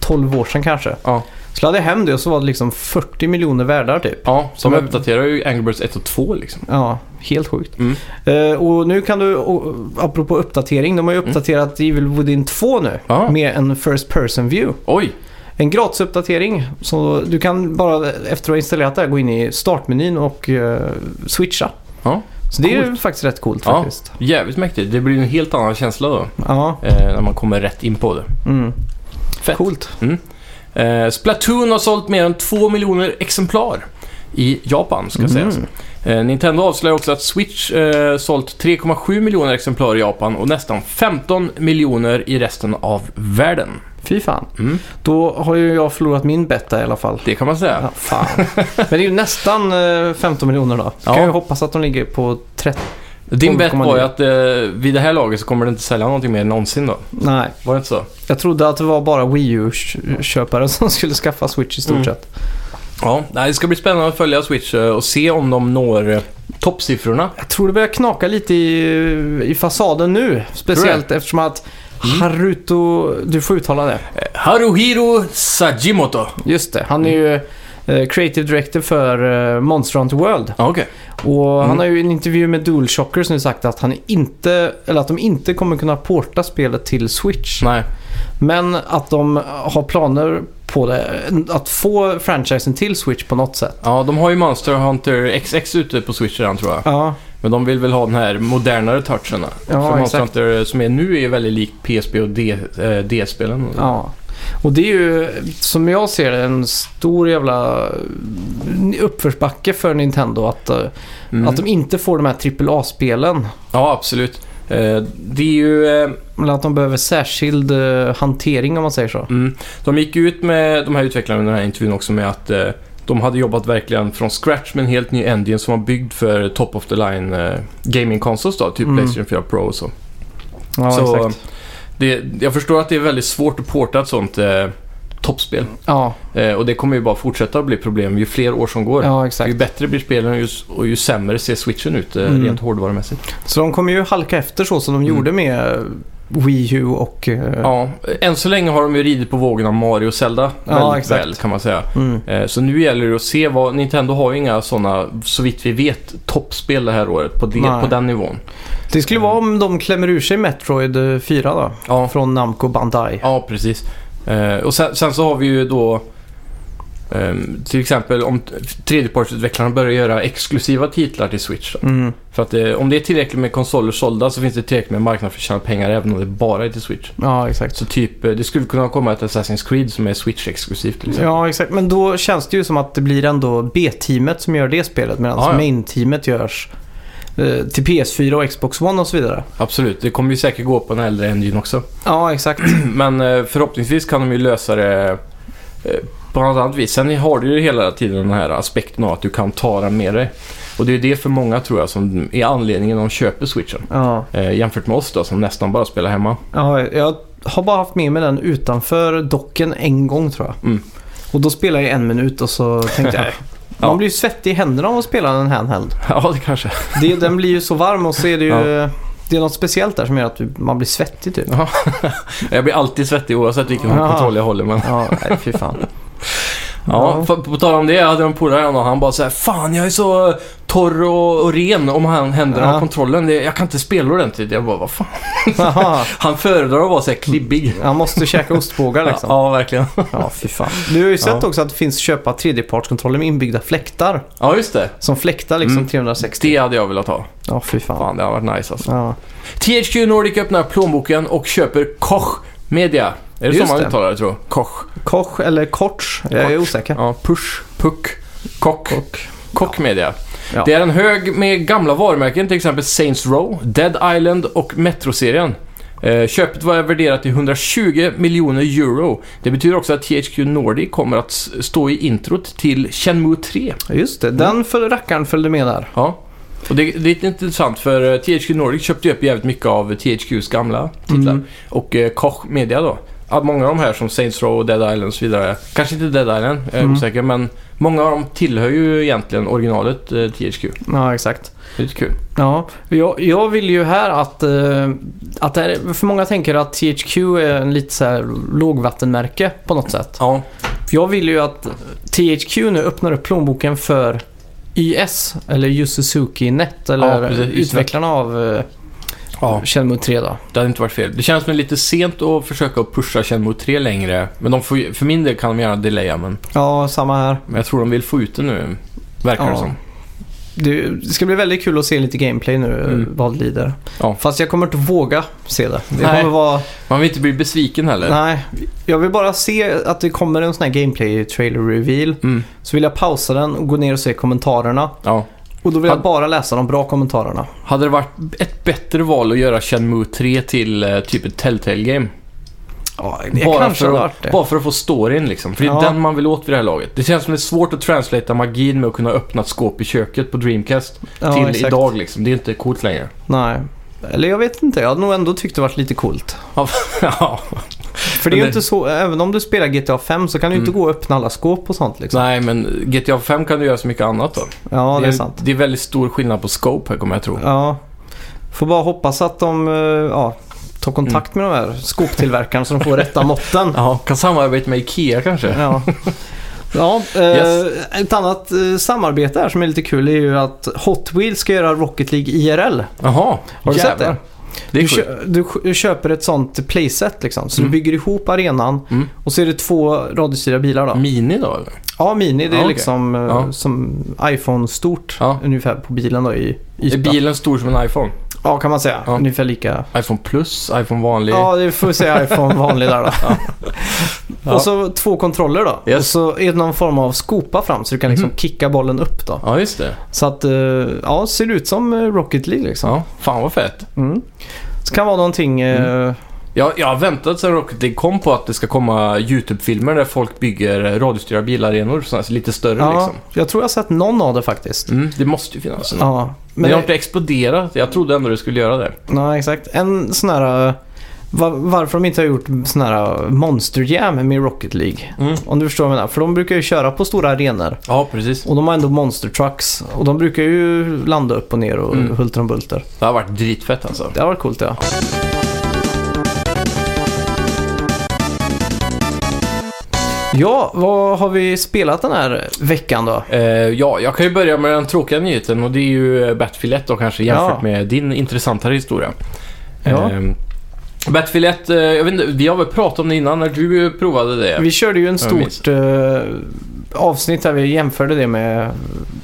[SPEAKER 1] 12 år sedan kanske.
[SPEAKER 2] Ja.
[SPEAKER 1] Så lade jag hem det och så var det liksom 40 miljoner världar typ.
[SPEAKER 2] Ja, så de
[SPEAKER 1] Men-
[SPEAKER 2] uppdaterar ju Angry Birds 1 och 2 liksom.
[SPEAKER 1] Ja, helt sjukt.
[SPEAKER 2] Mm.
[SPEAKER 1] Eh, och nu kan du, och, apropå uppdatering, de har ju uppdaterat Evil Within 2 nu.
[SPEAKER 2] Mm. Ja.
[SPEAKER 1] Med en First Person View.
[SPEAKER 2] Oj!
[SPEAKER 1] En gratisuppdatering. Så du kan bara efter att ha installerat det här gå in i startmenyn och eh, switcha.
[SPEAKER 2] Ja.
[SPEAKER 1] Så det är ju faktiskt rätt coolt
[SPEAKER 2] Ja.
[SPEAKER 1] faktiskt.
[SPEAKER 2] Jävligt mäktigt. Det blir ju en helt annan känsla då.
[SPEAKER 1] Ja.
[SPEAKER 2] Eh, när man kommer rätt in på det.
[SPEAKER 1] Mm.
[SPEAKER 2] Fett.
[SPEAKER 1] Coolt.
[SPEAKER 2] Eh, Splatoon har sålt mer än 2 miljoner exemplar i Japan, ska
[SPEAKER 1] Mm.
[SPEAKER 2] sägas. Eh, Nintendo avslöjar också att Switch eh, sålt 3,7 miljoner exemplar i Japan och nästan 15 miljoner i resten av världen.
[SPEAKER 1] Fy fan.
[SPEAKER 2] Mm.
[SPEAKER 1] Då har ju jag förlorat min bet där i alla fall.
[SPEAKER 2] Det kan man
[SPEAKER 1] Ja,
[SPEAKER 2] säga.
[SPEAKER 1] fan. Men det är ju nästan eh, 15 miljoner då. Kan
[SPEAKER 2] Ja.
[SPEAKER 1] jag hoppas att de ligger på 30.
[SPEAKER 2] Din bet
[SPEAKER 1] 12,9.
[SPEAKER 2] var ju att eh, vid det här laget så kommer det inte sälja någonting mer än någonsin då.
[SPEAKER 1] Nej,
[SPEAKER 2] Var det inte så?
[SPEAKER 1] jag trodde att det var bara Wii U-köpare som skulle skaffa Switch i stort
[SPEAKER 2] Mm.
[SPEAKER 1] sett.
[SPEAKER 2] Ja, nej, det ska bli spännande att följa Switch eh, och se om de når eh, toppsiffrorna.
[SPEAKER 1] Jag tror det börjar knaka lite i, i fasaden nu. Speciellt eftersom att Haruto, du får uttala det.
[SPEAKER 2] Eh, Haruhiro Sajimoto.
[SPEAKER 1] Just det, han är ju eh, creative director för eh, Monster Hunter World.
[SPEAKER 2] Ja, okej.
[SPEAKER 1] Och han
[SPEAKER 2] Mm.
[SPEAKER 1] har ju i en intervju med DualShockers nu sagt att, han inte, eller att de inte kommer kunna porta spelet till Switch.
[SPEAKER 2] Nej.
[SPEAKER 1] Men att de har planer på det, att få franchisen till Switch på något sätt.
[SPEAKER 2] Ja, de har ju Monster Hunter XX ute på Switch redan tror jag.
[SPEAKER 1] Ja,
[SPEAKER 2] Men de vill väl ha den här modernare touchen. För Monster
[SPEAKER 1] exakt.
[SPEAKER 2] Hunter som är nu är ju väldigt lik PSP och D- eh, D-spelen.
[SPEAKER 1] ja. Och det är ju, som jag ser det, en stor jävla uppförsbacke för Nintendo. Att, eh,
[SPEAKER 2] Mm.
[SPEAKER 1] att de inte får de här AAA-spelen.
[SPEAKER 2] ja absolut. Eh, det är ju... Eh,
[SPEAKER 1] Men att de behöver särskild eh, hantering om man säger så.
[SPEAKER 2] mm, de gick ju ut med de här utvecklarna under den här intervjun också med att eh, de hade jobbat verkligen från scratch med en helt ny engine som var byggd för top of the line eh, gaming consoles då, typ
[SPEAKER 1] Mm.
[SPEAKER 2] Playstation 4 Pro och så.
[SPEAKER 1] Ja,
[SPEAKER 2] Så, eh,
[SPEAKER 1] exakt.
[SPEAKER 2] Det, jag förstår att det är väldigt svårt att porta ett sånt eh, toppspel.
[SPEAKER 1] Ja,
[SPEAKER 2] Eh, och det kommer ju bara fortsätta att bli problem ju fler år som går.
[SPEAKER 1] ja,
[SPEAKER 2] Ju
[SPEAKER 1] exakt.
[SPEAKER 2] bättre blir spelen och ju, och ju sämre ser switchen ut eh,
[SPEAKER 1] Mm.
[SPEAKER 2] rent hårdvarumässigt.
[SPEAKER 1] Så de kommer ju halka efter så som de
[SPEAKER 2] Mm.
[SPEAKER 1] gjorde med eh, Wii U och... eh,
[SPEAKER 2] Ja, än så länge har de ju ridit på vågen av Mario och Zelda
[SPEAKER 1] Ja,
[SPEAKER 2] väldigt
[SPEAKER 1] exakt.
[SPEAKER 2] väl kan man säga.
[SPEAKER 1] Mm.
[SPEAKER 2] Eh, Så nu gäller det att se vad... Nintendo har ju inga sådana, så vitt vi vet, toppspel det här året på, det,
[SPEAKER 1] Nej.
[SPEAKER 2] på den nivån.
[SPEAKER 1] Det skulle vara om de klämmer ur sig Metroid eh, 4 då.
[SPEAKER 2] Ja,
[SPEAKER 1] Från Namco Bandai.
[SPEAKER 2] ja precis. Eh, Och sen, sen så har vi ju då ehm, till exempel om t- tredjepartsutvecklarna börjar göra exklusiva titlar till Switch. Då.
[SPEAKER 1] Mm.
[SPEAKER 2] För att eh, om det är tillräckligt med konsoler sålda så finns det tillräckligt med marknad för att tjäna pengar även om det bara är till Switch.
[SPEAKER 1] Ja, exakt.
[SPEAKER 2] Så typ, eh, det skulle kunna komma ett Assassin's Creed som är Switch-exklusivt. till exempel.
[SPEAKER 1] Ja, exakt. Men då känns det ju som att det blir ändå B-teamet som gör det spelet medan
[SPEAKER 2] Ja, ja.
[SPEAKER 1] main-teamet görs eh, till PS4 och Xbox One och så vidare.
[SPEAKER 2] Absolut, det kommer ju säkert gå på den äldre engine också.
[SPEAKER 1] Ja, exakt.
[SPEAKER 2] Men eh, förhoppningsvis kan de ju lösa det eh, på något annat vis. Sen har du ju hela tiden den här aspekten av att du kan ta den med dig. Och det är ju det för många tror jag som är anledningen de köper Switchen.
[SPEAKER 1] Ja.
[SPEAKER 2] Eh, jämfört med oss då som nästan bara spelar hemma.
[SPEAKER 1] ja, jag har bara haft med mig den utanför docken en gång tror jag.
[SPEAKER 2] Mm.
[SPEAKER 1] Och då spelade jag en minut och så tänkte jag... "Ah,
[SPEAKER 2] Ja.
[SPEAKER 1] Man blir ju svettig i händerna av att spela en handheld.
[SPEAKER 2] ja, det kanske.
[SPEAKER 1] Det, den blir ju så varm och så är det ju...
[SPEAKER 2] Ja.
[SPEAKER 1] Det är något speciellt där som gör att du- man blir svettig typ.
[SPEAKER 2] Jag blir alltid svettig oavsett vilken
[SPEAKER 1] Ja.
[SPEAKER 2] kontroll jag håller. Men...
[SPEAKER 1] Ja, nej, fy fan.
[SPEAKER 2] Ja,
[SPEAKER 1] Ja.
[SPEAKER 2] För, på tal om det. Jag hade en polare här och han bara så här, Fan, jag är så torr och, och ren om han händerna
[SPEAKER 1] Ja.
[SPEAKER 2] har kontrollen. Det, jag kan inte spela ordentligt. Jag bara, vad fan.
[SPEAKER 1] Jaha.
[SPEAKER 2] Han föredrar att vara så här klibbig.
[SPEAKER 1] Han måste käka ostbågar liksom.
[SPEAKER 2] Ja, verkligen.
[SPEAKER 1] Ja, fy fan. Du har ju sett också att det finns köpa tredjepartskontroller med inbyggda fläktar.
[SPEAKER 2] Ja, just det.
[SPEAKER 1] Som fläktar liksom
[SPEAKER 2] Mm.
[SPEAKER 1] 360.
[SPEAKER 2] Det hade jag velat ha.
[SPEAKER 1] Ja, fy fan.
[SPEAKER 2] Fan, det hade varit nice alltså.
[SPEAKER 1] Ja.
[SPEAKER 2] THQ Nordic öppnar plånboken och köper Koch Media. Är det
[SPEAKER 1] Just
[SPEAKER 2] så man
[SPEAKER 1] det.
[SPEAKER 2] uttalar det, tror jag? Koch.
[SPEAKER 1] Koch eller Korts. Jag är
[SPEAKER 2] Korts.
[SPEAKER 1] osäker.
[SPEAKER 2] Ja, Push, Puck, Koch.
[SPEAKER 1] Koch.
[SPEAKER 2] Koch Media.
[SPEAKER 1] Ja.
[SPEAKER 2] Det är en hög med gamla varumärken, till exempel Saints Row, Dead Island och Metro-serien. Eh, köpet var värderat till 120 miljoner euro. Det betyder också att THQ Nordic kommer att s- stå i introt till Shenmue 3.
[SPEAKER 1] Ja, Just det,
[SPEAKER 2] Mm.
[SPEAKER 1] den för rackaren följde med där.
[SPEAKER 2] Ja. Och det, det är lite intressant för eh, THQ Nordic köpte ju upp jävligt mycket av THQs gamla titlar.
[SPEAKER 1] Mm.
[SPEAKER 2] Och eh, Koch Media då. Att många av de här som Saints Row, Dead Island och så vidare. Kanske inte Dead Island, jag är
[SPEAKER 1] Mm.
[SPEAKER 2] osäker. Men många av dem tillhör ju egentligen originalet eh, THQ.
[SPEAKER 1] Ja, exakt.
[SPEAKER 2] Det är lite kul.
[SPEAKER 1] Ja, jag, jag vill ju här att... eh, att det här, är- för många tänker att THQ är en lite så här lågvattenmärke på något sätt.
[SPEAKER 2] Ja,
[SPEAKER 1] För jag vill ju att THQ nu öppnar upp plånboken för YS, eller Yu Suzuki Net, eller
[SPEAKER 2] Ja, precis.
[SPEAKER 1] utvecklarna av eh,
[SPEAKER 2] ja.
[SPEAKER 1] Shenmue 3 då.
[SPEAKER 2] Det hade inte varit fel. Det känns som lite sent att försöka pusha Shenmue 3 längre. Men de får, ju- för min del kan de gärna delaya, men,
[SPEAKER 1] Ja, samma här.
[SPEAKER 2] men jag tror de vill få ut det nu. Verkar det
[SPEAKER 1] Ja.
[SPEAKER 2] som.
[SPEAKER 1] Det det ska bli väldigt kul att se lite gameplay nu
[SPEAKER 2] Mm.
[SPEAKER 1] vad det lider.
[SPEAKER 2] Ja.
[SPEAKER 1] Fast jag kommer inte våga se det. Det
[SPEAKER 2] Nej.
[SPEAKER 1] kommer vara...
[SPEAKER 2] Man vill inte bli besviken heller.
[SPEAKER 1] Nej, jag vill bara se att det kommer en sån här gameplay-trailer-reveal.
[SPEAKER 2] Mm.
[SPEAKER 1] Så vill jag pausa den och gå ner och se kommentarerna.
[SPEAKER 2] Ja.
[SPEAKER 1] Och då vill
[SPEAKER 2] Ja.
[SPEAKER 1] jag bara läsa de bra kommentarerna.
[SPEAKER 2] Hade det varit ett bättre val att göra Shenmue 3 till eh, typ ett Telltale-game?
[SPEAKER 1] Ja, det
[SPEAKER 2] Bara
[SPEAKER 1] kanske
[SPEAKER 2] för
[SPEAKER 1] hade
[SPEAKER 2] att-
[SPEAKER 1] varit det.
[SPEAKER 2] Bara för att få storyn liksom. För det är
[SPEAKER 1] Ja.
[SPEAKER 2] den man vill åt vid det här laget. Det känns som det är svårt att translatea magin med att kunna öppna ett skåp i köket på Dreamcast
[SPEAKER 1] ja,
[SPEAKER 2] till
[SPEAKER 1] exakt.
[SPEAKER 2] idag liksom. Det är inte coolt längre.
[SPEAKER 1] Nej. Eller jag vet inte, jag hade nog ändå tyckt det varit lite coolt.
[SPEAKER 2] ja.
[SPEAKER 1] För det är
[SPEAKER 2] Men
[SPEAKER 1] ju
[SPEAKER 2] det-
[SPEAKER 1] inte så, även om du spelar GTA 5 så kan du ju inte
[SPEAKER 2] Mm.
[SPEAKER 1] gå och öppna alla skåp och sånt liksom.
[SPEAKER 2] Nej, men GTA 5 kan du göra så mycket annat då.
[SPEAKER 1] Ja, det är sant.
[SPEAKER 2] Det är väldigt stor skillnad på scope här kommer jag tro.
[SPEAKER 1] Ja. Får bara hoppas att de eh, ja, tar kontakt
[SPEAKER 2] Mm.
[SPEAKER 1] med de här skåptillverkarna så de får rätta måtten.
[SPEAKER 2] Ja, kan samarbeta med Ikea kanske?
[SPEAKER 1] Ja. Ja, eh,
[SPEAKER 2] Yes.
[SPEAKER 1] ett annat eh, samarbete här som är lite kul är ju att Hot Wheels ska göra Rocket League IRL.
[SPEAKER 2] Jaha,
[SPEAKER 1] Har du sett
[SPEAKER 2] jävlar.
[SPEAKER 1] det?
[SPEAKER 2] Det är
[SPEAKER 1] Du,
[SPEAKER 2] sjukt.
[SPEAKER 1] kö- du sk- köper ett sånt playset liksom. Så
[SPEAKER 2] Mm.
[SPEAKER 1] du bygger ihop arenan
[SPEAKER 2] Mm.
[SPEAKER 1] och så är det två radiostyrda bilar då.
[SPEAKER 2] Mini då eller?
[SPEAKER 1] Ja, Mini det är
[SPEAKER 2] Ja, okej.
[SPEAKER 1] liksom eh,
[SPEAKER 2] Ja.
[SPEAKER 1] som iPhone-stort
[SPEAKER 2] Ja.
[SPEAKER 1] ungefär på bilen då i
[SPEAKER 2] Är
[SPEAKER 1] yta.
[SPEAKER 2] bilen stor som en iPhone?
[SPEAKER 1] Ja, kan man säga.
[SPEAKER 2] Ja.
[SPEAKER 1] Ungefär lika.
[SPEAKER 2] iPhone plus, iPhone vanlig?
[SPEAKER 1] Ja, det får vi säga iPhone vanlig där då.
[SPEAKER 2] Ja.
[SPEAKER 1] Och så två kontroller då.
[SPEAKER 2] Yes.
[SPEAKER 1] Och så är det någon form av skopa fram så du kan liksom
[SPEAKER 2] Mhm.
[SPEAKER 1] kicka bollen upp då.
[SPEAKER 2] Ja, just det.
[SPEAKER 1] Så att, eh, ja, ser ut som eh, Rocket League liksom.
[SPEAKER 2] Ja, Mm. fan vad fett.
[SPEAKER 1] Mm. Så kan vara någonting... eh,
[SPEAKER 2] Jag, jag har väntat sedan Rocket League kom på att det ska komma YouTube-filmer där folk bygger radiostyrda bilarenor, sådana här lite större
[SPEAKER 1] ja,
[SPEAKER 2] liksom.
[SPEAKER 1] Jag tror jag har sett någon av det faktiskt.
[SPEAKER 2] Mm, det måste ju finnas. en.
[SPEAKER 1] Ja,
[SPEAKER 2] Men det har inte exploderat. Jag trodde ändå det skulle göra det.
[SPEAKER 1] nej, exakt. En sån här... eh, va- varför de inte har gjort sån här eh, monsterjam med Rocket League. Om du förstår vad jag menar. För de brukar ju köra på stora arenor.
[SPEAKER 2] Mm. Ja, precis.
[SPEAKER 1] Och de har ändå monster trucks. Och de brukar ju landa upp och ner och
[SPEAKER 2] Mm.
[SPEAKER 1] hulter om bulter.
[SPEAKER 2] Det har varit dritfett alltså.
[SPEAKER 1] Det har varit coolt ja. Ja, vad har vi spelat den här veckan då?
[SPEAKER 2] Eh, ja, jag kan ju börja med den tråkiga nyheten och det är ju eh, Battlefield 1 då kanske jämfört
[SPEAKER 1] Ja.
[SPEAKER 2] med din intressantare historia.
[SPEAKER 1] Ja.
[SPEAKER 2] Eh, Battlefield 1, eh, jag vet inte, vi har väl pratat om det innan när du eh, provade det?
[SPEAKER 1] Vi körde ju en
[SPEAKER 2] minns.
[SPEAKER 1] stort eh, avsnitt där vi jämförde det med,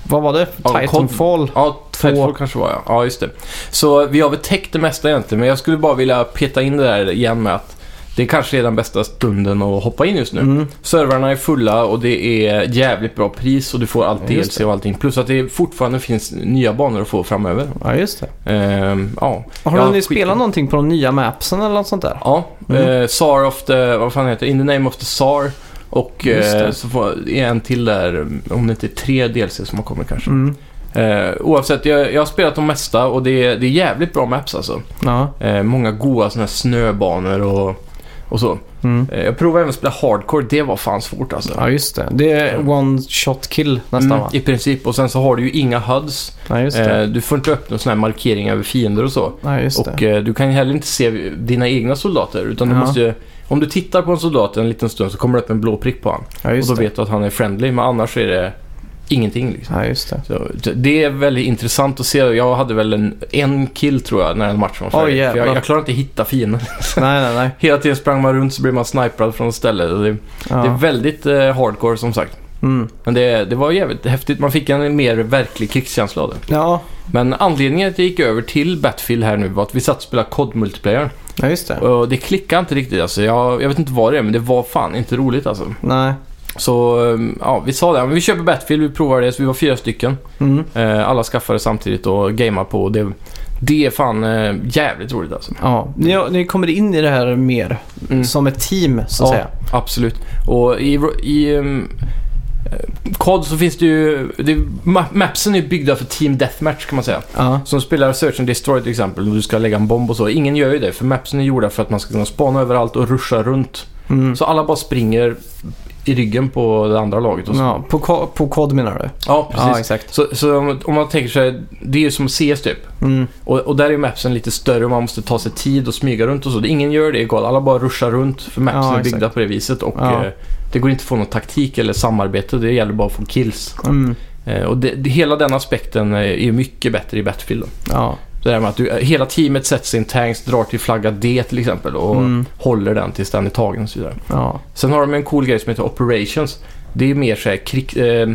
[SPEAKER 1] vad var det?
[SPEAKER 2] Ja, Cod.
[SPEAKER 1] Titanfall?
[SPEAKER 2] Ja,
[SPEAKER 1] Två.
[SPEAKER 2] Titanfall kanske var ja. Ja, just det. Så vi har väl täckt det mesta egentligen, men jag skulle bara vilja peta in det där igen med att det kanske är den bästa stunden att hoppa in just nu.
[SPEAKER 1] Mm.
[SPEAKER 2] Servrarna är fulla och det är jävligt bra pris och du får allt
[SPEAKER 1] Ja, just
[SPEAKER 2] DLC och allting. Plus att det fortfarande finns nya banor att få framöver.
[SPEAKER 1] Ja, just det.
[SPEAKER 2] Ehm, ja.
[SPEAKER 1] Har
[SPEAKER 2] Ja,
[SPEAKER 1] ni
[SPEAKER 2] skit-
[SPEAKER 1] spelat någonting på de nya mapsen eller något sånt där?
[SPEAKER 2] Ja,
[SPEAKER 1] Mm.
[SPEAKER 2] eh, Tsar of the... Vad fan heter det? In the name of the Tsar. Och
[SPEAKER 1] Just
[SPEAKER 2] eh,
[SPEAKER 1] det.
[SPEAKER 2] så får, är en till där, om det inte är tre DLC som har kommit kanske.
[SPEAKER 1] Mm.
[SPEAKER 2] Eh, oavsett, jag, jag har spelat de mesta och det är, det är jävligt bra maps alltså.
[SPEAKER 1] Ja.
[SPEAKER 2] Eh, många goa såna här snöbanor och, och så.
[SPEAKER 1] Mm.
[SPEAKER 2] Eh, jag provade även att spela hardcore, det var fan svårt alltså.
[SPEAKER 1] ja, just det. Det är one shot kill nästan
[SPEAKER 2] Mm,
[SPEAKER 1] va?
[SPEAKER 2] I princip, och sen så har du ju inga HUDs.
[SPEAKER 1] Ja, just det.
[SPEAKER 2] Eh, du får inte öppna såna här markeringar över fiender och så.
[SPEAKER 1] Ja, just det.
[SPEAKER 2] Och eh, du kan ju heller inte se dina egna soldater. Utan du
[SPEAKER 1] Ja.
[SPEAKER 2] måste ju, om du tittar på en soldat en liten stund så kommer det upp en blå prick på honom.
[SPEAKER 1] Ja,
[SPEAKER 2] Och
[SPEAKER 1] just
[SPEAKER 2] då
[SPEAKER 1] det.
[SPEAKER 2] vet du att han är friendly, men annars är det ingenting. Liksom.
[SPEAKER 1] Ja, just det.
[SPEAKER 2] Så, det- det är väldigt intressant att se. Jag hade väl en, en kill tror jag när den matchen var
[SPEAKER 1] Oj,
[SPEAKER 2] färdig. För jag,
[SPEAKER 1] jävlar.
[SPEAKER 2] jag klarade inte hitta fienden.
[SPEAKER 1] Nej, nej, nej.
[SPEAKER 2] Hela tiden sprang man runt så blev man sniprad från stället. Och Det,
[SPEAKER 1] Ja.
[SPEAKER 2] det är väldigt eh, hardcore som sagt.
[SPEAKER 1] mm.
[SPEAKER 2] Men det, det var jävligt häftigt. Man fick en mer verklig krigskänsla av det.
[SPEAKER 1] ja.
[SPEAKER 2] Men anledningen till att jag gick över till Battlefield här nu var att vi satt och spelade COD multiplayer.
[SPEAKER 1] ja, just det.
[SPEAKER 2] Och det klickade inte riktigt alltså. Jag, jag vet inte vad det är, men det var fan inte roligt alltså.
[SPEAKER 1] Nej.
[SPEAKER 2] Så eh, ja, vi sa det. Men vi köper Battlefield, vi provar det. Så vi var fyra stycken.
[SPEAKER 1] Mm.
[SPEAKER 2] Eh, alla skaffade samtidigt och gamade på. Det, det är fan eh, jävligt roligt alltså.
[SPEAKER 1] Ja, ni, ni kommer in i det här mer
[SPEAKER 2] Mm.
[SPEAKER 1] som ett team så att
[SPEAKER 2] ja,
[SPEAKER 1] säga.
[SPEAKER 2] absolut. Och i, i ehm, eh, COD så finns det ju... Det, är- ma- mapsen är byggda för Team Deathmatch kan man säga.
[SPEAKER 1] Ja.
[SPEAKER 2] Som spelar Search and Destroy till exempel och du ska lägga en bomb och så. Ingen gör ju det för mapsen är gjorda för att man ska kunna spana överallt och ruscha runt.
[SPEAKER 1] Mm.
[SPEAKER 2] Så alla bara springer i ryggen på det andra laget. Och så.
[SPEAKER 1] ja på, ko- på kod menar du?
[SPEAKER 2] Ja,
[SPEAKER 1] Ja,
[SPEAKER 2] precis.
[SPEAKER 1] exakt.
[SPEAKER 2] så, så om- om man tänker sig, det är ju som CS typ.
[SPEAKER 1] Mm.
[SPEAKER 2] Och, och där är mapsen lite större och man måste ta sig tid och smyga runt och så. Det- Ingen gör det i God. Alla bara ruschar runt för mapsen
[SPEAKER 1] Ja,
[SPEAKER 2] är byggda på det viset. Och
[SPEAKER 1] Ja.
[SPEAKER 2] eh, det går inte att få någon taktik eller samarbete. Det gäller bara att få kills.
[SPEAKER 1] Mm.
[SPEAKER 2] Eh, och det, det, hela den aspekten eh, är ju mycket bättre i Battlefield. Då.
[SPEAKER 1] Ja.
[SPEAKER 2] Det där med att du, eh, hela teamet sätter sin tanks, drar till flagga D till exempel och
[SPEAKER 1] Mm.
[SPEAKER 2] håller den tills den är tagen och så vidare.
[SPEAKER 1] Ja.
[SPEAKER 2] Sen har de en cool grej som heter Operations. Det är mer så här krig, eh,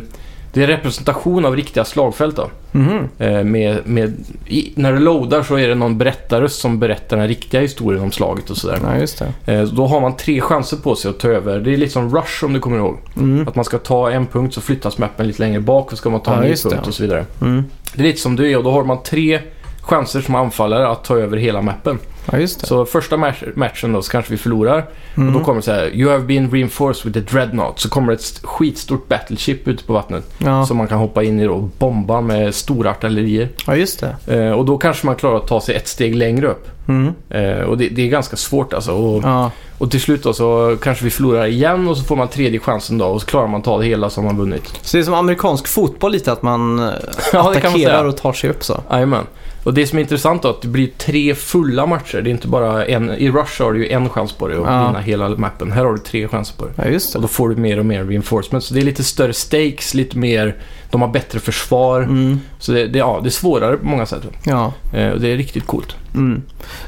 [SPEAKER 2] Det är representation av riktiga slagfält då.
[SPEAKER 1] Mhm.
[SPEAKER 2] Eh, med, med, i, när du loadar så är det någon berättarröst som berättar den riktiga historien om slaget och sådär.
[SPEAKER 1] ja, just det.
[SPEAKER 2] Eh, då har man tre chanser på sig att ta över. Det är lite som Rush om du kommer ihåg.
[SPEAKER 1] Mm.
[SPEAKER 2] Att man ska ta en punkt så flyttas mappen lite längre bak och ska man ta
[SPEAKER 1] Ja,
[SPEAKER 2] en ny
[SPEAKER 1] just det.
[SPEAKER 2] punkt och så vidare.
[SPEAKER 1] Mm.
[SPEAKER 2] Det är lite som du är och då har man tre chanser som anfallare att ta över hela mappen.
[SPEAKER 1] Ja, just det.
[SPEAKER 2] Så första match, matchen då så kanske vi förlorar.
[SPEAKER 1] Mm.
[SPEAKER 2] Och då kommer det så här “You have been reinforced with a dreadnought” så kommer det ett st- skitstort battleship ute på vattnet
[SPEAKER 1] ja.
[SPEAKER 2] som man kan hoppa in i då och bomba med stora artillerier.
[SPEAKER 1] ja, just det.
[SPEAKER 2] Eh, och då kanske man klarar att ta sig ett steg längre upp.
[SPEAKER 1] Mm.
[SPEAKER 2] Eh, och det, det är ganska svårt alltså. Och,
[SPEAKER 1] Ja.
[SPEAKER 2] och till slut då så kanske vi förlorar igen och så får man tredje chansen då och så klarar man att ta det hela som man vunnit.
[SPEAKER 1] Så det är som amerikansk fotboll lite att man eh,
[SPEAKER 2] Ja, det kan man
[SPEAKER 1] attackerar
[SPEAKER 2] säga.
[SPEAKER 1] och tar sig upp så.
[SPEAKER 2] Jajamän. Och det som är intressant då är att det blir tre fulla matcher. Det är inte bara en. I Rush har du ju en chans på dig att
[SPEAKER 1] Ja.
[SPEAKER 2] vinna hela mappen. Här har du tre chanser på dig.
[SPEAKER 1] Ja, just
[SPEAKER 2] Och
[SPEAKER 1] det.
[SPEAKER 2] då får du mer och mer reinforcement. Så det är lite större stakes, lite mer... De har bättre försvar.
[SPEAKER 1] Mm.
[SPEAKER 2] Så det, det, ja, det är svårare på många sätt.
[SPEAKER 1] Ja.
[SPEAKER 2] Eh, och det är riktigt coolt.
[SPEAKER 1] Mm.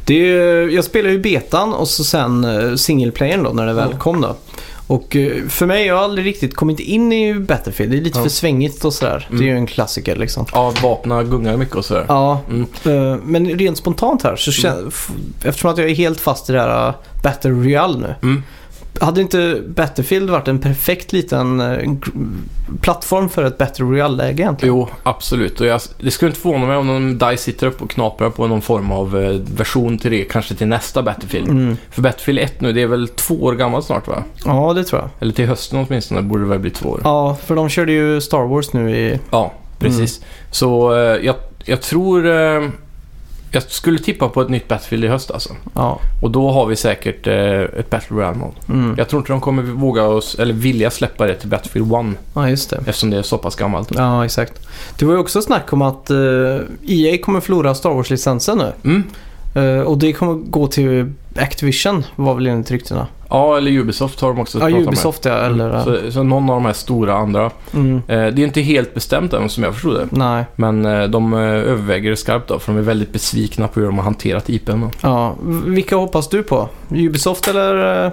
[SPEAKER 1] Det är, ju- jag spelade ju betan och så sen eh, singleplayern då när det väl
[SPEAKER 2] Ja.
[SPEAKER 1] kom då. Och eh, för mig, jag har aldrig riktigt kommit in i Battlefield. Det är lite
[SPEAKER 2] Ja.
[SPEAKER 1] för svängigt och sådär.
[SPEAKER 2] Mm.
[SPEAKER 1] Det är ju en klassiker liksom.
[SPEAKER 2] Ja, vapna gungar mycket och sådär.
[SPEAKER 1] Ja,
[SPEAKER 2] Mm.
[SPEAKER 1] eh, men rent spontant här så kän- f- eftersom att jag är helt fast i det här eh, Battle Royale nu.
[SPEAKER 2] Mm.
[SPEAKER 1] Hade inte Battlefield varit en perfekt liten eh, gr- plattform för ett Battle Royale-läge egentligen?
[SPEAKER 2] Jo, absolut. Och jag, det skulle inte förvåna mig om någon DICE sitter upp och knaprar på någon form av eh, version till det, kanske till nästa Battlefield.
[SPEAKER 1] Mm.
[SPEAKER 2] För Battlefield 1 nu, det är väl två år gammalt snart va?
[SPEAKER 1] Ja, det tror jag.
[SPEAKER 2] Eller till hösten åtminstone borde det väl bli två år.
[SPEAKER 1] Ja, för de körde ju Star Wars nu i...
[SPEAKER 2] Ja, precis.
[SPEAKER 1] Mm.
[SPEAKER 2] Så eh, jag, jag tror... Eh, jag skulle tippa på ett nytt Battlefield i höst alltså.
[SPEAKER 1] Ja.
[SPEAKER 2] Och då har vi säkert eh, ett Battle Royale mode.
[SPEAKER 1] Mm.
[SPEAKER 2] Jag tror inte de kommer våga oss, eller vilja släppa det till Battlefield 1
[SPEAKER 1] ja, just det.
[SPEAKER 2] eftersom det är så pass gammalt.
[SPEAKER 1] Ja, exakt. Det var ju också snack om att eh, EA kommer förlora Star Wars-licensen nu.
[SPEAKER 2] Mm.
[SPEAKER 1] Eh, och det kommer gå till Activision, var väl enligt ryktena.
[SPEAKER 2] Ja, eller Ubisoft har de också
[SPEAKER 1] Ja,
[SPEAKER 2] pratat med.
[SPEAKER 1] Ubisoft ja, eller... eh,
[SPEAKER 2] Så, så någon av de här stora andra. Eh,
[SPEAKER 1] Mm,
[SPEAKER 2] det är inte helt bestämt än som jag förstod det.
[SPEAKER 1] nej.
[SPEAKER 2] Men eh, de eh, överväger det skarpt då, för de är väldigt besvikna på hur de har hanterat IPn. Då.
[SPEAKER 1] Ja. v- Vilka hoppas du på? Ubisoft eller... eh,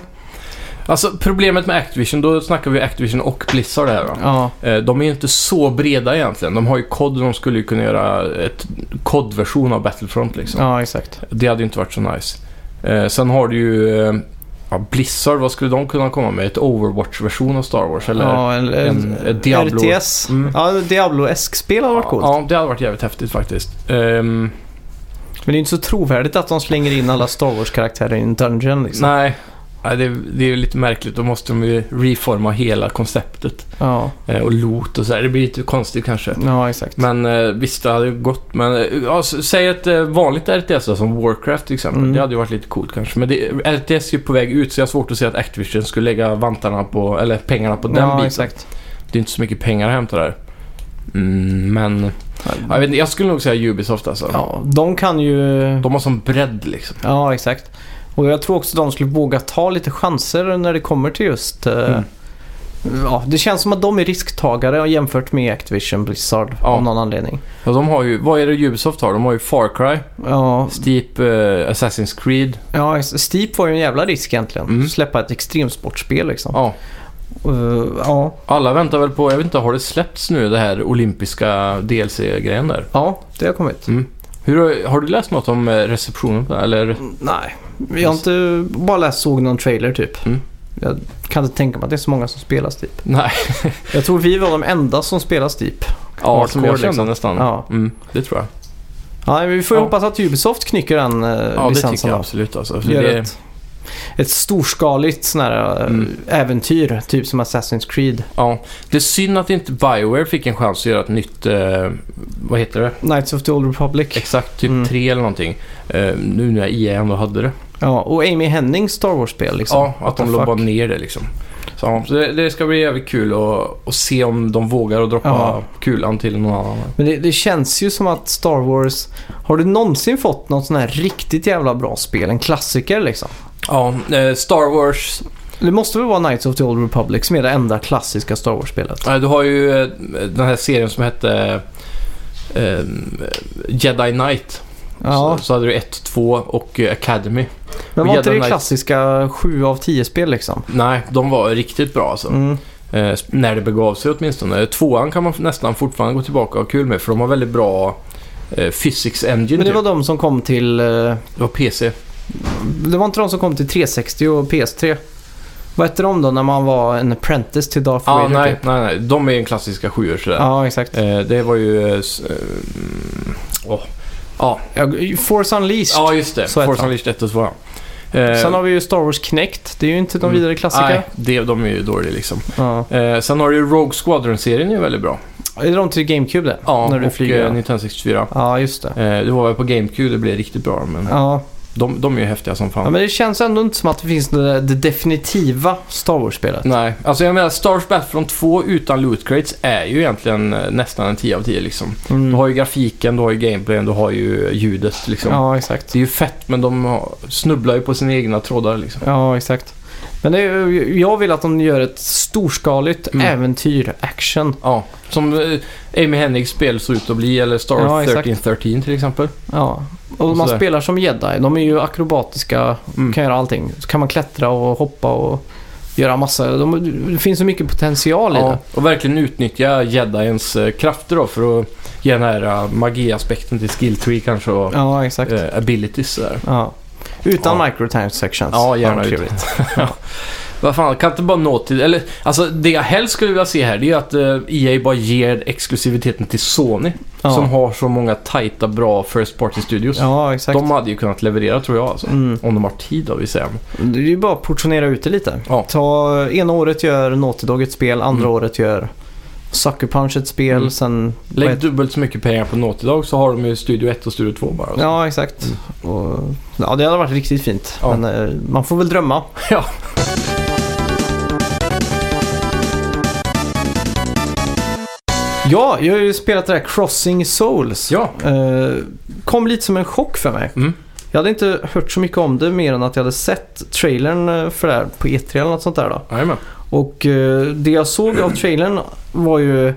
[SPEAKER 2] Alltså problemet med Activision, då snackar vi Activision och Blizzard här va?
[SPEAKER 1] Ja,
[SPEAKER 2] Eh, De är ju inte så breda egentligen. De har ju kod och de skulle ju kunna göra ett kodversion av Battlefront liksom.
[SPEAKER 1] ja exakt.
[SPEAKER 2] Det hade ju inte varit så nice. Eh, sen har du ju eh, ja, Blizzard, vad skulle de kunna komma med? Ett Overwatch-version av Star Wars eller?
[SPEAKER 1] ja, eller
[SPEAKER 2] en- ett Diablo.
[SPEAKER 1] RTS.
[SPEAKER 2] Mm.
[SPEAKER 1] Ja, Diablo-esk spel hade varit coolt.
[SPEAKER 2] Ja, det hade varit jävligt häftigt faktiskt. Ehm,
[SPEAKER 1] Men det är inte så trovärdigt att de slänger in alla Star Wars-karaktärer i en dungeon liksom.
[SPEAKER 2] nej, nej det, det är ju lite märkligt. Då måste de ju reforma hela konceptet.
[SPEAKER 1] Ja,
[SPEAKER 2] Eh, och loot och så här. Det blir lite konstigt kanske.
[SPEAKER 1] ja exakt.
[SPEAKER 2] Men eh, visst, det hade ju gått. Men eh, ja, s- säg ett eh, vanligt RTS då, som Warcraft till exempel.
[SPEAKER 1] Mm.
[SPEAKER 2] Det hade ju varit lite coolt kanske. Men det, RTS är ju på väg ut så jag har svårt att se att Activision skulle lägga vantarna på, eller pengarna på den
[SPEAKER 1] ja,
[SPEAKER 2] biten.
[SPEAKER 1] exakt.
[SPEAKER 2] Det är inte så mycket pengar att hämta där. Mm, men jag, vet, inte, jag skulle nog säga Ubisoft alltså.
[SPEAKER 1] Ja, de kan ju...
[SPEAKER 2] De har sån bredd liksom.
[SPEAKER 1] Ja, exakt. Och jag tror också de skulle våga ta lite chanser när det kommer till just... eh,
[SPEAKER 2] Mm.
[SPEAKER 1] Ja, det känns som att de är risktagare jämfört med Activision Blizzard
[SPEAKER 2] Ja.
[SPEAKER 1] av någon anledning.
[SPEAKER 2] Ja, de har ju, vad är det Ubisoft har? De har ju Far Cry,
[SPEAKER 1] Ja,
[SPEAKER 2] Steep, eh, Assassin's Creed.
[SPEAKER 1] ja, ex- Steep var ju en jävla risk egentligen.
[SPEAKER 2] Mm.
[SPEAKER 1] Släppa ett extremsportspel liksom.
[SPEAKER 2] Ja,
[SPEAKER 1] Eh, ja,
[SPEAKER 2] alla väntar väl på, jag vet inte, har det släppts nu det här olympiska DLC-grejen där?
[SPEAKER 1] ja, det har kommit.
[SPEAKER 2] Hur, har- har du läst något om eh, receptionen på det här, eller?
[SPEAKER 1] Nej, jag har inte bara läst, såg någon trailer typ.
[SPEAKER 2] Mm.
[SPEAKER 1] Jag kan inte tänka mig att det är så många som spelar Steep.
[SPEAKER 2] Nej,
[SPEAKER 1] Jag tror vi var de enda som spelar Steep.
[SPEAKER 2] ja, som jag
[SPEAKER 1] Hardcore,
[SPEAKER 2] kände
[SPEAKER 1] liksom.
[SPEAKER 2] nästan.
[SPEAKER 1] Ja.
[SPEAKER 2] Mm, det tror jag.
[SPEAKER 1] Ja, men vi får ju
[SPEAKER 2] Ja.
[SPEAKER 1] hoppas att Ubisoft knycker den eh,
[SPEAKER 2] Ja, det tycker
[SPEAKER 1] licensen.
[SPEAKER 2] jag
[SPEAKER 1] då.
[SPEAKER 2] absolut. Alltså. För
[SPEAKER 1] Gör
[SPEAKER 2] det,
[SPEAKER 1] ett, ett storskaligt sån här eh,
[SPEAKER 2] Mm.
[SPEAKER 1] äventyr, typ som Assassin's Creed.
[SPEAKER 2] ja, det är synd att inte Bioware fick en chans att göra ett nytt, eh, vad heter det?
[SPEAKER 1] Knights of the Old Republic.
[SPEAKER 2] Exakt, typ
[SPEAKER 1] Mm.
[SPEAKER 2] tre eller någonting. Eh, nu när EA ändå hade det.
[SPEAKER 1] Ja, och Amy Hennings Star Wars-spel liksom.
[SPEAKER 2] Ja, att
[SPEAKER 1] What the
[SPEAKER 2] de la
[SPEAKER 1] fuck?
[SPEAKER 2] bara ner det liksom. Så, ja, så det, det ska bli jävligt kul att, att se om de vågar att droppa
[SPEAKER 1] Ja.
[SPEAKER 2] kulan till någon annan.
[SPEAKER 1] Men det, det känns ju som att Star Wars... Har du någonsin fått något sån här riktigt jävla bra spel? En klassiker liksom?
[SPEAKER 2] Ja, eh, Star Wars.
[SPEAKER 1] Det måste väl vara Knights of the Old Republic som är det enda klassiska Star Wars-spelet?
[SPEAKER 2] Eh, Du har ju eh, den här serien som hette eh, Jedi Knight.
[SPEAKER 1] Ja,
[SPEAKER 2] Så, så hade du 1, 2 och eh, Academy.
[SPEAKER 1] men var inte
[SPEAKER 2] Jedi
[SPEAKER 1] det
[SPEAKER 2] Knight-
[SPEAKER 1] klassiska 7 av 10-spel liksom?
[SPEAKER 2] Nej, de var riktigt bra alltså.
[SPEAKER 1] Mm.
[SPEAKER 2] Eh, sp- när det begav sig åtminstone. Tvåan kan man f- nästan fortfarande gå tillbaka och ha kul med för de har väldigt bra eh, physics engine.
[SPEAKER 1] Men det var
[SPEAKER 2] typ.
[SPEAKER 1] de som kom till... eh,
[SPEAKER 2] det var PC.
[SPEAKER 1] Det var inte de som kom till 360 och PS3? Vad hette de då när man var en apprentice till Darth
[SPEAKER 2] Ah,
[SPEAKER 1] Vader?
[SPEAKER 2] nej,
[SPEAKER 1] typ? Ah.
[SPEAKER 2] nej, nej. De är en klassiska sjuor sådär.
[SPEAKER 1] Ja, exakt.
[SPEAKER 2] Eh, det var ju... eh, s- eh, åh. Ja,
[SPEAKER 1] Ja, Force Unleashed.
[SPEAKER 2] ja, just det.
[SPEAKER 1] Så heter
[SPEAKER 2] Force
[SPEAKER 1] han.
[SPEAKER 2] Unleashed 1 och 2. Eh,
[SPEAKER 1] Sen har vi ju Star Wars Kinect. Det är ju inte någon
[SPEAKER 2] Mm.
[SPEAKER 1] vidare klassiker.
[SPEAKER 2] Nej, det, de är ju dåliga liksom.
[SPEAKER 1] Ja.
[SPEAKER 2] Eh, sen har du ju Rogue Squadron-serien är ju väldigt bra.
[SPEAKER 1] Är det de till GameCube det? När du
[SPEAKER 2] och
[SPEAKER 1] flyger?
[SPEAKER 2] eh, Nintendo 64.
[SPEAKER 1] Ja, just det.
[SPEAKER 2] Eh, det var väl på GameCube det blev riktigt bra, men
[SPEAKER 1] Ja.
[SPEAKER 2] de, de är ju häftiga som fan.
[SPEAKER 1] ja, men det känns ändå inte som att det finns det, det definitiva Star Wars-spelet.
[SPEAKER 2] Nej, alltså jag menar Stars Battlefront 2 utan loot crates är ju egentligen eh, nästan en 10 av 10 liksom.
[SPEAKER 1] Mm.
[SPEAKER 2] Du har ju grafiken, du har ju gameplayen, du har ju ljudet liksom.
[SPEAKER 1] Ja, exakt.
[SPEAKER 2] Det är ju fett men de har- snubblar ju på sina egna trådar liksom.
[SPEAKER 1] Ja, exakt. Men det är, jag vill att de gör ett storskaligt
[SPEAKER 2] Mm.
[SPEAKER 1] äventyr, action.
[SPEAKER 2] Ja, som eh, Amy Hennigs spel såg ut att bli, eller Star
[SPEAKER 1] Ja,
[SPEAKER 2] Wars
[SPEAKER 1] exakt.
[SPEAKER 2] 1313 till exempel.
[SPEAKER 1] Ja. Och,
[SPEAKER 2] Och
[SPEAKER 1] man
[SPEAKER 2] sådär.
[SPEAKER 1] spelar som jedi. De är ju akrobatiska,
[SPEAKER 2] Mm.
[SPEAKER 1] kan göra allting. Så kan man klättra och hoppa och göra massa. De, det finns så mycket potential i
[SPEAKER 2] Ja,
[SPEAKER 1] det.
[SPEAKER 2] och verkligen utnyttja jediens eh, krafter då för att ge den här eh, magiaspekten till skill tree kanske och
[SPEAKER 1] Ja, exakt.
[SPEAKER 2] eh, abilities där.
[SPEAKER 1] Ja. Utan
[SPEAKER 2] Ja.
[SPEAKER 1] microtransactions.
[SPEAKER 2] Ja, gärna
[SPEAKER 1] Vad
[SPEAKER 2] ut-
[SPEAKER 1] trevligt.
[SPEAKER 2] Vad fan, kan inte bara nå till... Eller, alltså det jag helst skulle vilja se här det är ju att eh, EA bara ger exklusiviteten till Sony
[SPEAKER 1] Ja.
[SPEAKER 2] som har så många tajta, bra First Party Studios.
[SPEAKER 1] Ja, exakt.
[SPEAKER 2] de hade ju kunnat leverera tror jag alltså.
[SPEAKER 1] Mm.
[SPEAKER 2] Om de har tid av sen.
[SPEAKER 1] Det är ju bara att portionera ut det lite.
[SPEAKER 2] Ja.
[SPEAKER 1] Ta, ena året gör Naughty Dog ett spel, andra
[SPEAKER 2] Mm.
[SPEAKER 1] året gör Sucker Punch ett spel,
[SPEAKER 2] Mm.
[SPEAKER 1] sen...
[SPEAKER 2] Lägg
[SPEAKER 1] vad heter-
[SPEAKER 2] dubbelt så mycket pengar på Naughty Dog så har de ju Studio 1 och Studio 2 bara. alltså.
[SPEAKER 1] Ja, exakt. Och, ja, det hade varit riktigt fint.
[SPEAKER 2] Mm. Ja.
[SPEAKER 1] Men eh, man får väl drömma.
[SPEAKER 2] Ja.
[SPEAKER 1] Ja, jag har ju spelat det där Crossing Souls.
[SPEAKER 2] Ja.
[SPEAKER 1] Eh, kom lite som en chock för mig.
[SPEAKER 2] Mm.
[SPEAKER 1] Jag hade inte hört så mycket om det mer än att jag hade sett trailern eh, för det här på E3 eller något sånt där då.
[SPEAKER 2] Jajamän.
[SPEAKER 1] Och eh, det jag såg av trailern var ju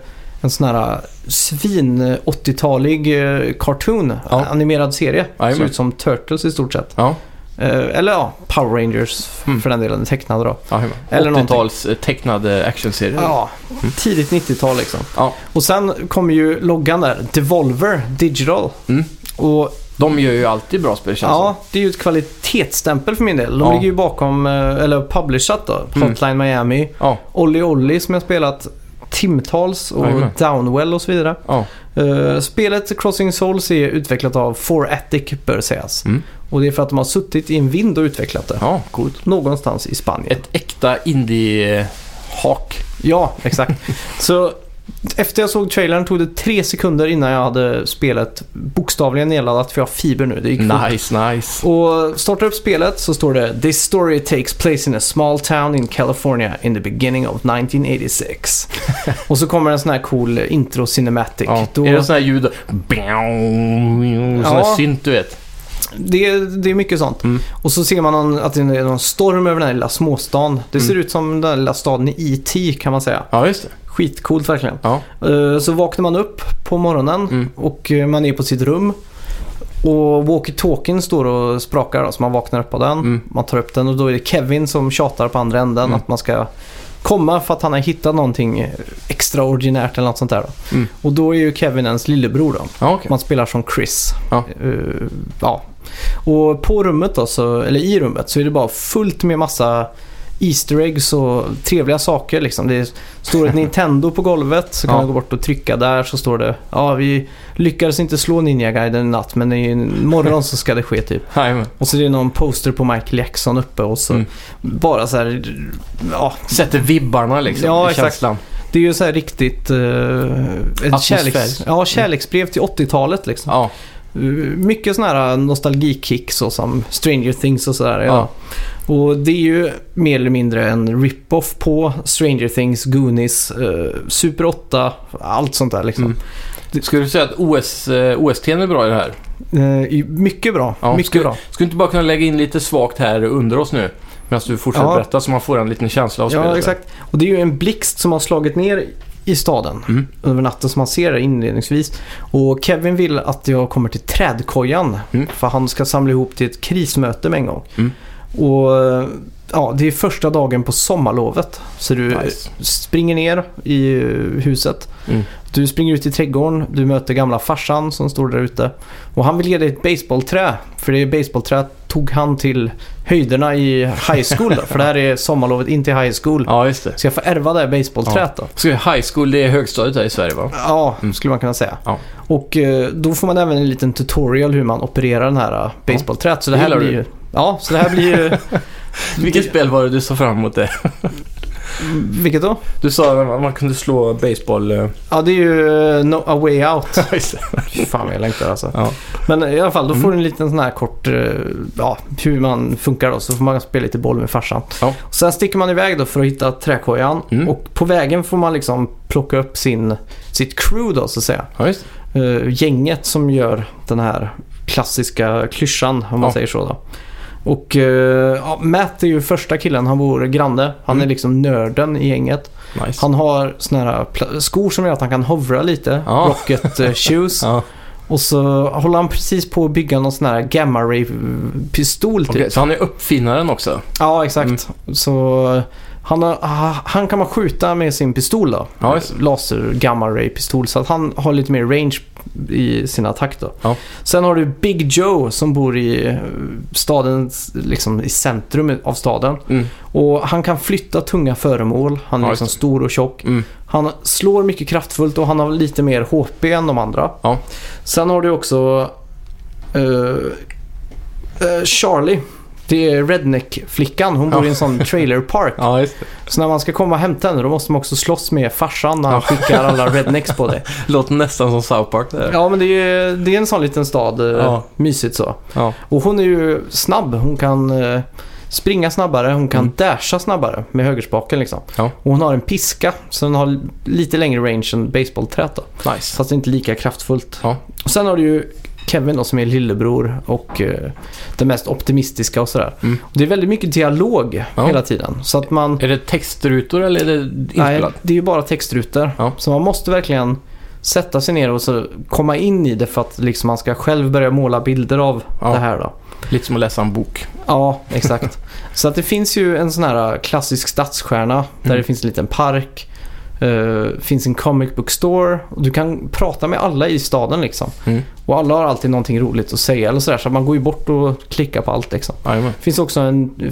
[SPEAKER 1] en sån här eh, svin-80-talig eh, cartoon,
[SPEAKER 2] Ja.
[SPEAKER 1] animerad serie.
[SPEAKER 2] Jajamän.
[SPEAKER 1] Ser ut som Turtles i stort sett.
[SPEAKER 2] Ja,
[SPEAKER 1] Eh, eller ja, Power Rangers
[SPEAKER 2] Mm.
[SPEAKER 1] för den delen, tecknade då.
[SPEAKER 2] jajamän.
[SPEAKER 1] Eller
[SPEAKER 2] 80-tals eh, tecknade actionserie.
[SPEAKER 1] Ja, tidigt 90-tal liksom.
[SPEAKER 2] Ja.
[SPEAKER 1] Och sen kommer ju loggan där, Devolver Digital.
[SPEAKER 2] Mm.
[SPEAKER 1] Och
[SPEAKER 2] De gör ju alltid bra spel känns
[SPEAKER 1] Ja, det är ju ett kvalitetsstämpel för min del. De
[SPEAKER 2] Ja.
[SPEAKER 1] ligger ju bakom, eh, eller publishat då,
[SPEAKER 2] Mm.
[SPEAKER 1] Hotline Miami,
[SPEAKER 2] Ja.
[SPEAKER 1] Olli Olli som jag spelat timtals och
[SPEAKER 2] Jajamän.
[SPEAKER 1] Downwell och så vidare.
[SPEAKER 2] Ja.
[SPEAKER 1] Eh, spelet Crossing Souls är utvecklat av Foratic bör sägas.
[SPEAKER 2] Mm.
[SPEAKER 1] Och det är för att de har suttit i en vind och utvecklat det.
[SPEAKER 2] ja, coolt.
[SPEAKER 1] Någonstans i Spanien.
[SPEAKER 2] Ett äkta indie-hak.
[SPEAKER 1] Ja, exakt. Så efter jag såg trailern tog det tre sekunder innan jag hade spelet bokstavligen nedladdat för jag har fiber nu. Det gick fort.
[SPEAKER 2] Nice, nice.
[SPEAKER 1] Och startar upp spelet så står det “This story takes place in a small town in California in the beginning of 1986”. och så kommer en sån här cool intro cinematic.
[SPEAKER 2] Ja.
[SPEAKER 1] Då,
[SPEAKER 2] Är det sån här ljud? Sån här
[SPEAKER 1] Ja.
[SPEAKER 2] synt du vet.
[SPEAKER 1] det, det är mycket sånt.
[SPEAKER 2] Mm.
[SPEAKER 1] Och så ser man någon, att det är någon storm över den här lilla småstaden. Det ser
[SPEAKER 2] Mm.
[SPEAKER 1] ut som den här lilla staden i E.T. kan man säga.
[SPEAKER 2] Ja, just det.
[SPEAKER 1] Skitcoolt verkligen.
[SPEAKER 2] Ja.
[SPEAKER 1] Eh, Så vaknar man upp på morgonen
[SPEAKER 2] Mm.
[SPEAKER 1] och eh, man är på sitt rum. Och walkie-talkien står och sprakar då, så man vaknar upp av den.
[SPEAKER 2] Mm.
[SPEAKER 1] Man tar upp den och då är det Kevin som tjatar på andra änden
[SPEAKER 2] Mm.
[SPEAKER 1] att man ska komma för att han har hittat någonting extraordinärt eller något sånt där. Då.
[SPEAKER 2] Mm.
[SPEAKER 1] Och då är ju Kevin ens lillebror då.
[SPEAKER 2] Ja, okej.
[SPEAKER 1] Man spelar som Chris.
[SPEAKER 2] Ja.
[SPEAKER 1] Eh, ja. Och på rummet då, så, eller i rummet, så är det bara fullt med massa Easter eggs och trevliga saker liksom. Det är- står ett Nintendo på golvet så kan
[SPEAKER 2] Ja.
[SPEAKER 1] man gå bort och trycka där så står det Ja, vi lyckades inte slå Ninja Gaiden i natt men imorgon så ska det ske typ.
[SPEAKER 2] Jajamän.
[SPEAKER 1] Och så är det någon poster på Michael Jackson uppe och så
[SPEAKER 2] Mm.
[SPEAKER 1] bara så här ja,
[SPEAKER 2] Sätter vibbarna liksom
[SPEAKER 1] Ja,
[SPEAKER 2] i
[SPEAKER 1] exakt.
[SPEAKER 2] känslan.
[SPEAKER 1] det är ju så här riktigt eh, ett
[SPEAKER 2] Atmosfär.
[SPEAKER 1] kärleks, ja, kärleksbrev till 80-talet liksom.
[SPEAKER 2] Ja,
[SPEAKER 1] Mycket sådana här nostalgikicks så som Stranger Things och sådär. Ja.
[SPEAKER 2] Ja.
[SPEAKER 1] Och det är ju mer eller mindre en rip-off på Stranger Things, Goonies, eh, Super 8, allt sånt där liksom.
[SPEAKER 2] Mm. Skulle du säga att OS, eh, OST är bra i det här?
[SPEAKER 1] Eh, mycket bra,
[SPEAKER 2] Mm. Ja,
[SPEAKER 1] mycket
[SPEAKER 2] skulle-
[SPEAKER 1] bra.
[SPEAKER 2] Skulle du inte bara kunna lägga in lite svagt här under oss nu? Medan du fortsätter
[SPEAKER 1] Ja.
[SPEAKER 2] berätta så man får en liten känsla av spelet.
[SPEAKER 1] Ja,
[SPEAKER 2] där.
[SPEAKER 1] exakt. Och det är ju en blixt som har slagit ner i staden
[SPEAKER 2] Mm.
[SPEAKER 1] över natten som man ser det inledningsvis. Och Kevin vill att jag kommer till trädkojan
[SPEAKER 2] Mm.
[SPEAKER 1] för han ska samla ihop till ett krismöte med en gång.
[SPEAKER 2] Mm.
[SPEAKER 1] Och eh, ja, det är första dagen på sommarlovet. Så du eh,
[SPEAKER 2] Nice.
[SPEAKER 1] springer ner i eh, huset.
[SPEAKER 2] Mm.
[SPEAKER 1] Du springer ut i trädgården, du möter gamla farsan som står där ute. Och han vill ge dig ett baseballträ För det baseballträ tog han till höjderna i high school. Då, för det här är sommarlovet in till high school.
[SPEAKER 2] Ja, just det.
[SPEAKER 1] Så jag får ärva det här baseballträt då?
[SPEAKER 2] Så high school, det är högstadiet här i Sverige va?
[SPEAKER 1] Ja, skulle man kunna säga.
[SPEAKER 2] Ja.
[SPEAKER 1] Och eh, då får man även en liten tutorial hur man opererar den här eh, baseballträt. Så det här
[SPEAKER 2] Gillar
[SPEAKER 1] blir
[SPEAKER 2] du?
[SPEAKER 1] ju... Ja, så det här blir ju...
[SPEAKER 2] Vilket spel var det du sa fram emot det?
[SPEAKER 1] Vilket då?
[SPEAKER 2] Du sa att man kunde slå baseball... eh,
[SPEAKER 1] Ja, det är ju eh, no, A Way Out.
[SPEAKER 2] just det.
[SPEAKER 1] Fy fan vad jag längtar alltså.
[SPEAKER 2] Ja. Mm.
[SPEAKER 1] Men i alla fall, då får du en liten sån här kort... eh, Ja, hur man funkar då. Så får man spela lite boll med farsan.
[SPEAKER 2] Ja.
[SPEAKER 1] Och sen sticker man iväg då för att hitta träkojan.
[SPEAKER 2] Mm.
[SPEAKER 1] Och på vägen får man liksom plocka upp sin, sitt crew då så att säga.
[SPEAKER 2] ja, just det.
[SPEAKER 1] eh, gänget som gör den här klassiska klyschan om man
[SPEAKER 2] Ja.
[SPEAKER 1] säger så. Då. Och eh, ja, Matt är ju första killen, han bor granne. Han är
[SPEAKER 2] Mm.
[SPEAKER 1] liksom nörden i gänget.
[SPEAKER 2] Nice.
[SPEAKER 1] Han har såna här pla- skor som gör att han kan hovra lite,
[SPEAKER 2] Ja.
[SPEAKER 1] rocket eh, shoes.
[SPEAKER 2] Ja.
[SPEAKER 1] Och så håller han precis på att bygga någon sån här gamma ray pistol typ.
[SPEAKER 2] Okej, så han är uppfinnaren också?
[SPEAKER 1] Ja, exakt.
[SPEAKER 2] Mm.
[SPEAKER 1] Så eh, han, har, ah, han kan man skjuta med sin pistol då.
[SPEAKER 2] Ja, just
[SPEAKER 1] Laser gamma ray pistol. Så att han har lite mer range i sin attack då.
[SPEAKER 2] Ja.
[SPEAKER 1] Sen har du Big Joe som bor i eh, stadens, liksom i centrum av staden.
[SPEAKER 2] Mm.
[SPEAKER 1] Och han kan flytta tunga föremål. Han är
[SPEAKER 2] Ja, just
[SPEAKER 1] liksom
[SPEAKER 2] det.
[SPEAKER 1] stor och tjock.
[SPEAKER 2] Mm.
[SPEAKER 1] Han slår mycket kraftfullt och han har lite mer HP än de andra.
[SPEAKER 2] Ja.
[SPEAKER 1] Sen har du också eh, eh, Charlie. Det är Redneck-flickan. Hon bor
[SPEAKER 2] Ja.
[SPEAKER 1] i en sån trailer park.
[SPEAKER 2] Ja, just det.
[SPEAKER 1] Så när man ska komma och hämta henne då måste man också slåss med farsan när han
[SPEAKER 2] Ja.
[SPEAKER 1] skickar alla rednecks på dig.
[SPEAKER 2] Låter nästan som South Park det där.
[SPEAKER 1] Ja, men det är, det är en sån liten stad. eh,
[SPEAKER 2] Ja.
[SPEAKER 1] Mysigt så.
[SPEAKER 2] Ja.
[SPEAKER 1] Och hon är ju snabb. Hon kan eh, springa snabbare, hon kan
[SPEAKER 2] Mm.
[SPEAKER 1] dasha snabbare med högerspaken liksom.
[SPEAKER 2] Ja.
[SPEAKER 1] Och hon har en piska, så den har lite längre range än baseballträt då.
[SPEAKER 2] Nice.
[SPEAKER 1] Fast det är inte lika kraftfullt.
[SPEAKER 2] Ja.
[SPEAKER 1] Och sen har du ju Kevin då, som är lillebror och eh, den mest optimistiska och sådär.
[SPEAKER 2] Mm.
[SPEAKER 1] Och det är väldigt mycket dialog
[SPEAKER 2] Ja.
[SPEAKER 1] hela tiden. Så att man...
[SPEAKER 2] Är det textrutor eller är det
[SPEAKER 1] Nej,
[SPEAKER 2] inspelat?
[SPEAKER 1] det är ju bara textrutor.
[SPEAKER 2] Ja.
[SPEAKER 1] Så man måste verkligen sätta sig ner och så komma in i det för att liksom man ska själv börja måla bilder av
[SPEAKER 2] Ja.
[SPEAKER 1] det här då.
[SPEAKER 2] Lite som att läsa en bok.
[SPEAKER 1] Ja, exakt. så att det finns ju en sån här eh, klassisk stadsstjärna där
[SPEAKER 2] Mm.
[SPEAKER 1] det finns en liten park. eh, finns en comic book store. Och du kan prata med alla i staden liksom.
[SPEAKER 2] Mm.
[SPEAKER 1] Och alla har alltid någonting roligt att säga eller sådär. Så att man går ju bort och klickar på allt liksom.
[SPEAKER 2] Jajamän.
[SPEAKER 1] Det finns också en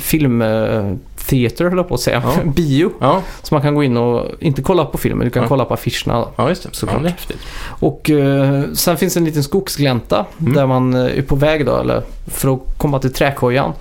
[SPEAKER 1] filmteater, höll jag på att säga.
[SPEAKER 2] Ja.
[SPEAKER 1] Bio.
[SPEAKER 2] Ja.
[SPEAKER 1] Så man kan gå in och inte kolla på filmen, du kan
[SPEAKER 2] Ja.
[SPEAKER 1] kolla på affischerna. då.
[SPEAKER 2] ja, just det.
[SPEAKER 1] Såklart.
[SPEAKER 2] Ja, det är häftigt.
[SPEAKER 1] Och eh, sen finns det en liten skogsglänta
[SPEAKER 2] Mm.
[SPEAKER 1] där man eh, är på väg då, eller för att komma till träkojan.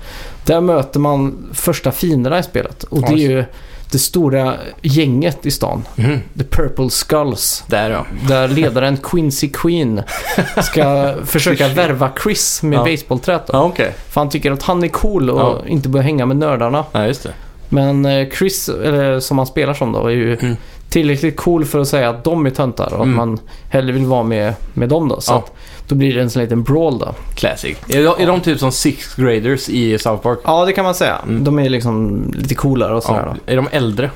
[SPEAKER 1] Där möter man första fienderna i spelet. Och det är
[SPEAKER 2] Oj.
[SPEAKER 1] ju det stora gänget i stan.
[SPEAKER 2] Mm.
[SPEAKER 1] The Purple Skulls.
[SPEAKER 2] Där ja.
[SPEAKER 1] Där ledaren Quincy Queen ska försöka värva Chris med
[SPEAKER 2] Ja.
[SPEAKER 1] basebollträt. då.
[SPEAKER 2] Ja, okej.
[SPEAKER 1] För han tycker att han är cool och
[SPEAKER 2] Ja.
[SPEAKER 1] inte bör hänga med nördarna.
[SPEAKER 2] Nej, just det.
[SPEAKER 1] Men eh, Chris, eller som han spelar som då, är ju
[SPEAKER 2] Mm.
[SPEAKER 1] tillräckligt cool för att säga att de är töntar och
[SPEAKER 2] Mm.
[SPEAKER 1] att man hellre vill vara med, med dem då. Så
[SPEAKER 2] Ja.
[SPEAKER 1] att då blir det en sån liten brawl då.
[SPEAKER 2] Classic. Är de, är de typ som sixth graders i South Park?
[SPEAKER 1] Ja, det kan man säga.
[SPEAKER 2] Mm.
[SPEAKER 1] De är liksom lite coolare och sådär. Ja,
[SPEAKER 2] Är de äldre?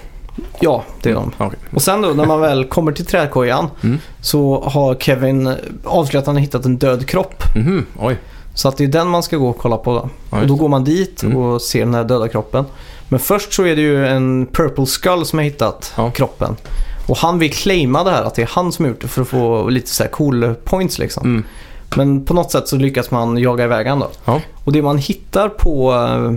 [SPEAKER 1] ja det är de.
[SPEAKER 2] Okej.
[SPEAKER 1] Och sen då när man väl kommer till trädkojan
[SPEAKER 2] Mm.
[SPEAKER 1] så har Kevin avslöjat att han har hittat en död kropp.
[SPEAKER 2] Mhm, oj.
[SPEAKER 1] Så att det är den man ska gå och kolla på då. och
[SPEAKER 2] Ja, just
[SPEAKER 1] då
[SPEAKER 2] det.
[SPEAKER 1] går man dit
[SPEAKER 2] Mm.
[SPEAKER 1] och ser den här döda kroppen. Men först så är det ju en Purple Skull som har hittat
[SPEAKER 2] Ja.
[SPEAKER 1] kroppen. Och han vill claima det här att det är han som har gjort det för att få lite så här cool points liksom.
[SPEAKER 2] Mm.
[SPEAKER 1] Men på något sätt så lyckas man jaga iväg han då.
[SPEAKER 2] Ja.
[SPEAKER 1] Och det man hittar på, eh,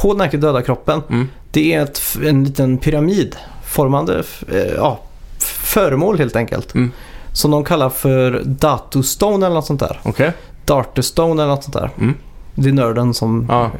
[SPEAKER 1] på den här döda kroppen,
[SPEAKER 2] Mm.
[SPEAKER 1] det är ett, en liten pyramidformande eh, ja, f- föremål helt enkelt.
[SPEAKER 2] Mm.
[SPEAKER 1] Som de kallar för Datustone eller något sånt där.
[SPEAKER 2] Okej.
[SPEAKER 1] Dartustone eller något sånt där.
[SPEAKER 2] Mm.
[SPEAKER 1] Det är nörden som
[SPEAKER 2] Ja.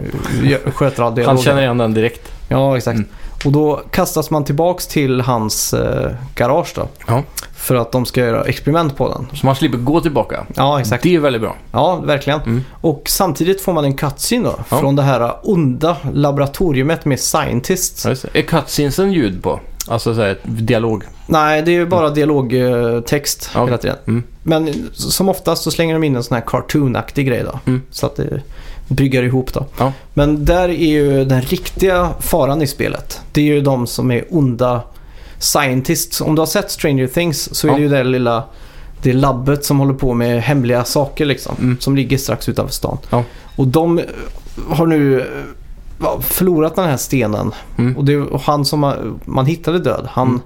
[SPEAKER 1] gö- sköter all dialog.
[SPEAKER 2] Han känner igen den direkt.
[SPEAKER 1] Ja, exakt.
[SPEAKER 2] Mm.
[SPEAKER 1] Och då kastas man tillbaks till hans eh, garage då.
[SPEAKER 2] Ja.
[SPEAKER 1] För att de ska göra experiment på den.
[SPEAKER 2] Så man slipper gå tillbaka.
[SPEAKER 1] Ja, exakt.
[SPEAKER 2] Det är väldigt bra.
[SPEAKER 1] Ja, verkligen.
[SPEAKER 2] Mm.
[SPEAKER 1] Och samtidigt får man en cutscene då.
[SPEAKER 2] Ja.
[SPEAKER 1] Från det här onda laboratoriumet med scientists.
[SPEAKER 2] Ja, just det. Är cutscenesen ljud på? Alltså så här, dialog.
[SPEAKER 1] Nej, det är ju bara dialogtext
[SPEAKER 2] Ja.
[SPEAKER 1] hela tiden.
[SPEAKER 2] Mm.
[SPEAKER 1] Men som oftast så slänger de in en sån här cartoonaktig grej då.
[SPEAKER 2] Mm.
[SPEAKER 1] Så att det bryggar ihop då.
[SPEAKER 2] Ja.
[SPEAKER 1] Men där är ju den riktiga faran i spelet. Det är ju de som är onda scientists. Om du har sett Stranger Things så är
[SPEAKER 2] Ja.
[SPEAKER 1] det ju det där lilla det labbet som håller på med hemliga saker liksom.
[SPEAKER 2] Mm.
[SPEAKER 1] Som ligger strax utanför stan.
[SPEAKER 2] Ja.
[SPEAKER 1] Och de eh, har nu eh, ja, förlorat den här stenen.
[SPEAKER 2] Mm.
[SPEAKER 1] Och, det, och han som man, man hittade död, han
[SPEAKER 2] Mm.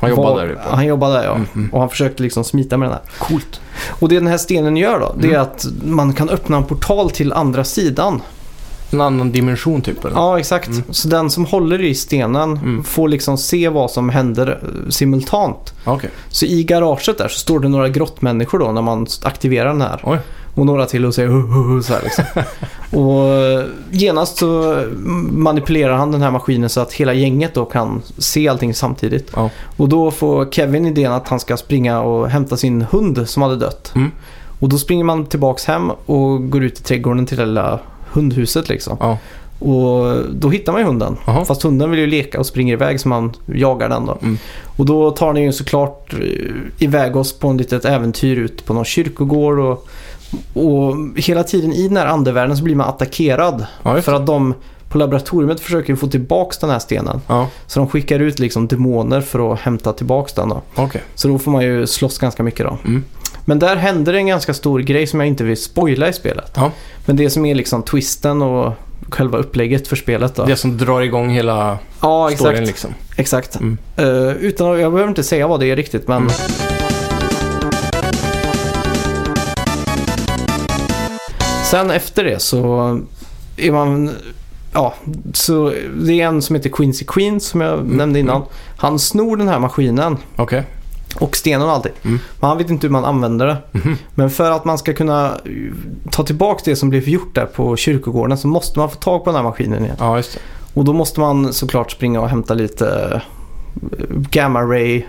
[SPEAKER 2] Han jobbar
[SPEAKER 1] var-
[SPEAKER 2] där uppe.
[SPEAKER 1] Han jobbade där ja.
[SPEAKER 2] Mm, mm.
[SPEAKER 1] Och han försökte liksom smita med den här.
[SPEAKER 2] Coolt.
[SPEAKER 1] Och det den här stenen gör då, det är
[SPEAKER 2] Mm.
[SPEAKER 1] att man kan öppna en portal till andra sidan.
[SPEAKER 2] En annan dimension typ. Eller?
[SPEAKER 1] Ja, exakt. Så den som håller i stenen
[SPEAKER 2] Mm.
[SPEAKER 1] får liksom se vad som händer eh, simultant.
[SPEAKER 2] Okej.
[SPEAKER 1] Så i garaget där så står det några grottmänniskor då när man aktiverar den här.
[SPEAKER 2] Oj.
[SPEAKER 1] Och några till och säger "Hu, hu, hu", så här liksom. Och eh, genast så manipulerar han den här maskinen så att hela gänget då kan se allting samtidigt.
[SPEAKER 2] Ja.
[SPEAKER 1] Och då får Kevin idén att han ska springa och hämta sin hund som hade dött.
[SPEAKER 2] Mm.
[SPEAKER 1] Och då springer man tillbaks hem och går ut i trädgården till det lilla hundhuset liksom.
[SPEAKER 2] Ja.
[SPEAKER 1] Och då hittar man ju hunden.
[SPEAKER 2] Aha.
[SPEAKER 1] Fast hunden vill ju leka och springer iväg så man jagar den då.
[SPEAKER 2] Mm.
[SPEAKER 1] Och då tar ni ju såklart eh, iväg oss på en litet äventyr ut på någon kyrkogård. Och, och hela tiden i den här andevärlden så blir man attackerad.
[SPEAKER 2] Ja, just
[SPEAKER 1] för att de på laboratoriet försöker ju få tillbaks den här stenen.
[SPEAKER 2] Ja.
[SPEAKER 1] Så de skickar ut liksom demoner för att hämta tillbaks den då.
[SPEAKER 2] Okej.
[SPEAKER 1] Så då får man ju slåss ganska mycket då.
[SPEAKER 2] Mm.
[SPEAKER 1] Men där händer det en ganska stor grej som jag inte vill spoila i spelet.
[SPEAKER 2] Ja.
[SPEAKER 1] Men det som är liksom twisten och själva upplägget för spelet då.
[SPEAKER 2] Det som drar igång hela
[SPEAKER 1] Ja,
[SPEAKER 2] storyn
[SPEAKER 1] exakt.
[SPEAKER 2] liksom.
[SPEAKER 1] exakt.
[SPEAKER 2] Mm.
[SPEAKER 1] Eh, utan, att- jag behöver inte säga vad det är riktigt, men...
[SPEAKER 2] Mm.
[SPEAKER 1] Sen efter det så är man... Ja, så det är en som heter Quincy Queen som jag
[SPEAKER 2] Mm.
[SPEAKER 1] nämnde innan. Han snor den här maskinen
[SPEAKER 2] Okej.
[SPEAKER 1] och stenen och allting.
[SPEAKER 2] Mm.
[SPEAKER 1] Men han vet inte hur man använder det.
[SPEAKER 2] Mhm.
[SPEAKER 1] Men för att man ska kunna eh, ta tillbaka det som blev gjort där på kyrkogården så måste man få tag på den här maskinen igen.
[SPEAKER 2] Ja, just det.
[SPEAKER 1] Och då måste man såklart springa och hämta lite eh, Gamma Ray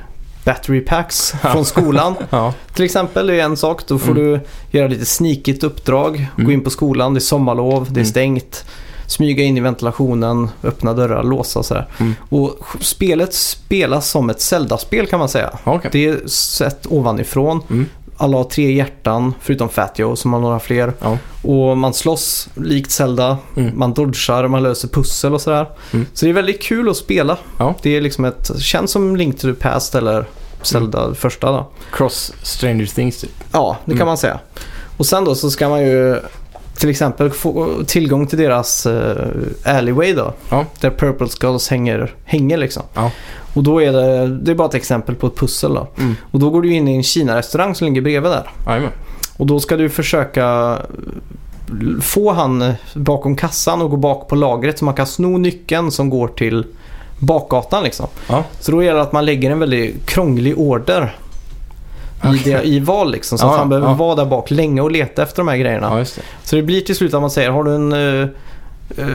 [SPEAKER 1] Battery Packs från skolan.
[SPEAKER 2] Ja.
[SPEAKER 1] Till exempel är en sak. Då får
[SPEAKER 2] Mm.
[SPEAKER 1] du göra lite snikigt uppdrag. Gå
[SPEAKER 2] Mm.
[SPEAKER 1] in på skolan, det är sommarlov, det är
[SPEAKER 2] Mm.
[SPEAKER 1] stängt. Smyga in i ventilationen, öppna dörrar, låsa och sådär.
[SPEAKER 2] Mm.
[SPEAKER 1] Och spelet spelas som ett Zelda-spel kan man säga.
[SPEAKER 2] Okej.
[SPEAKER 1] Det är sett ovanifrån.
[SPEAKER 2] Mm.
[SPEAKER 1] Alla har tre hjärtan förutom Fat Joe som har några fler.
[SPEAKER 2] Ja.
[SPEAKER 1] Och man slåss likt Zelda.
[SPEAKER 2] Mm.
[SPEAKER 1] Man dodgar, man löser pussel och sådär.
[SPEAKER 2] Mm.
[SPEAKER 1] Så det är väldigt kul att spela.
[SPEAKER 2] Ja.
[SPEAKER 1] Det är liksom ett, känns som Link to the Past eller Zelda
[SPEAKER 2] Mm.
[SPEAKER 1] första då.
[SPEAKER 2] Cross Stranger Things typ.
[SPEAKER 1] Ja, det kan
[SPEAKER 2] Mm.
[SPEAKER 1] man säga. Och sen då så ska man ju till exempel få tillgång till deras eh, alleyway då.
[SPEAKER 2] Ja.
[SPEAKER 1] Där Purple Skulls hänger, hänger liksom.
[SPEAKER 2] Ja.
[SPEAKER 1] Och då är det, det är bara ett exempel på ett pussel då.
[SPEAKER 2] Mm.
[SPEAKER 1] Och då går du in i en Kina-restaurang som ligger bredvid där.
[SPEAKER 2] Jajamän.
[SPEAKER 1] Och då ska du försöka eh, få han bakom kassan och gå bak på lagret så man kan sno nyckeln som går till bakgatan liksom.
[SPEAKER 2] Ja.
[SPEAKER 1] Så då gäller det att man lägger en väldigt krånglig order i, det, i val liksom. Så
[SPEAKER 2] Ja,
[SPEAKER 1] att han behöver
[SPEAKER 2] ja.
[SPEAKER 1] vara där bak länge och leta efter de här grejerna.
[SPEAKER 2] Ja, just det.
[SPEAKER 1] Så det blir till slut att man säger, har du en... eh, eh,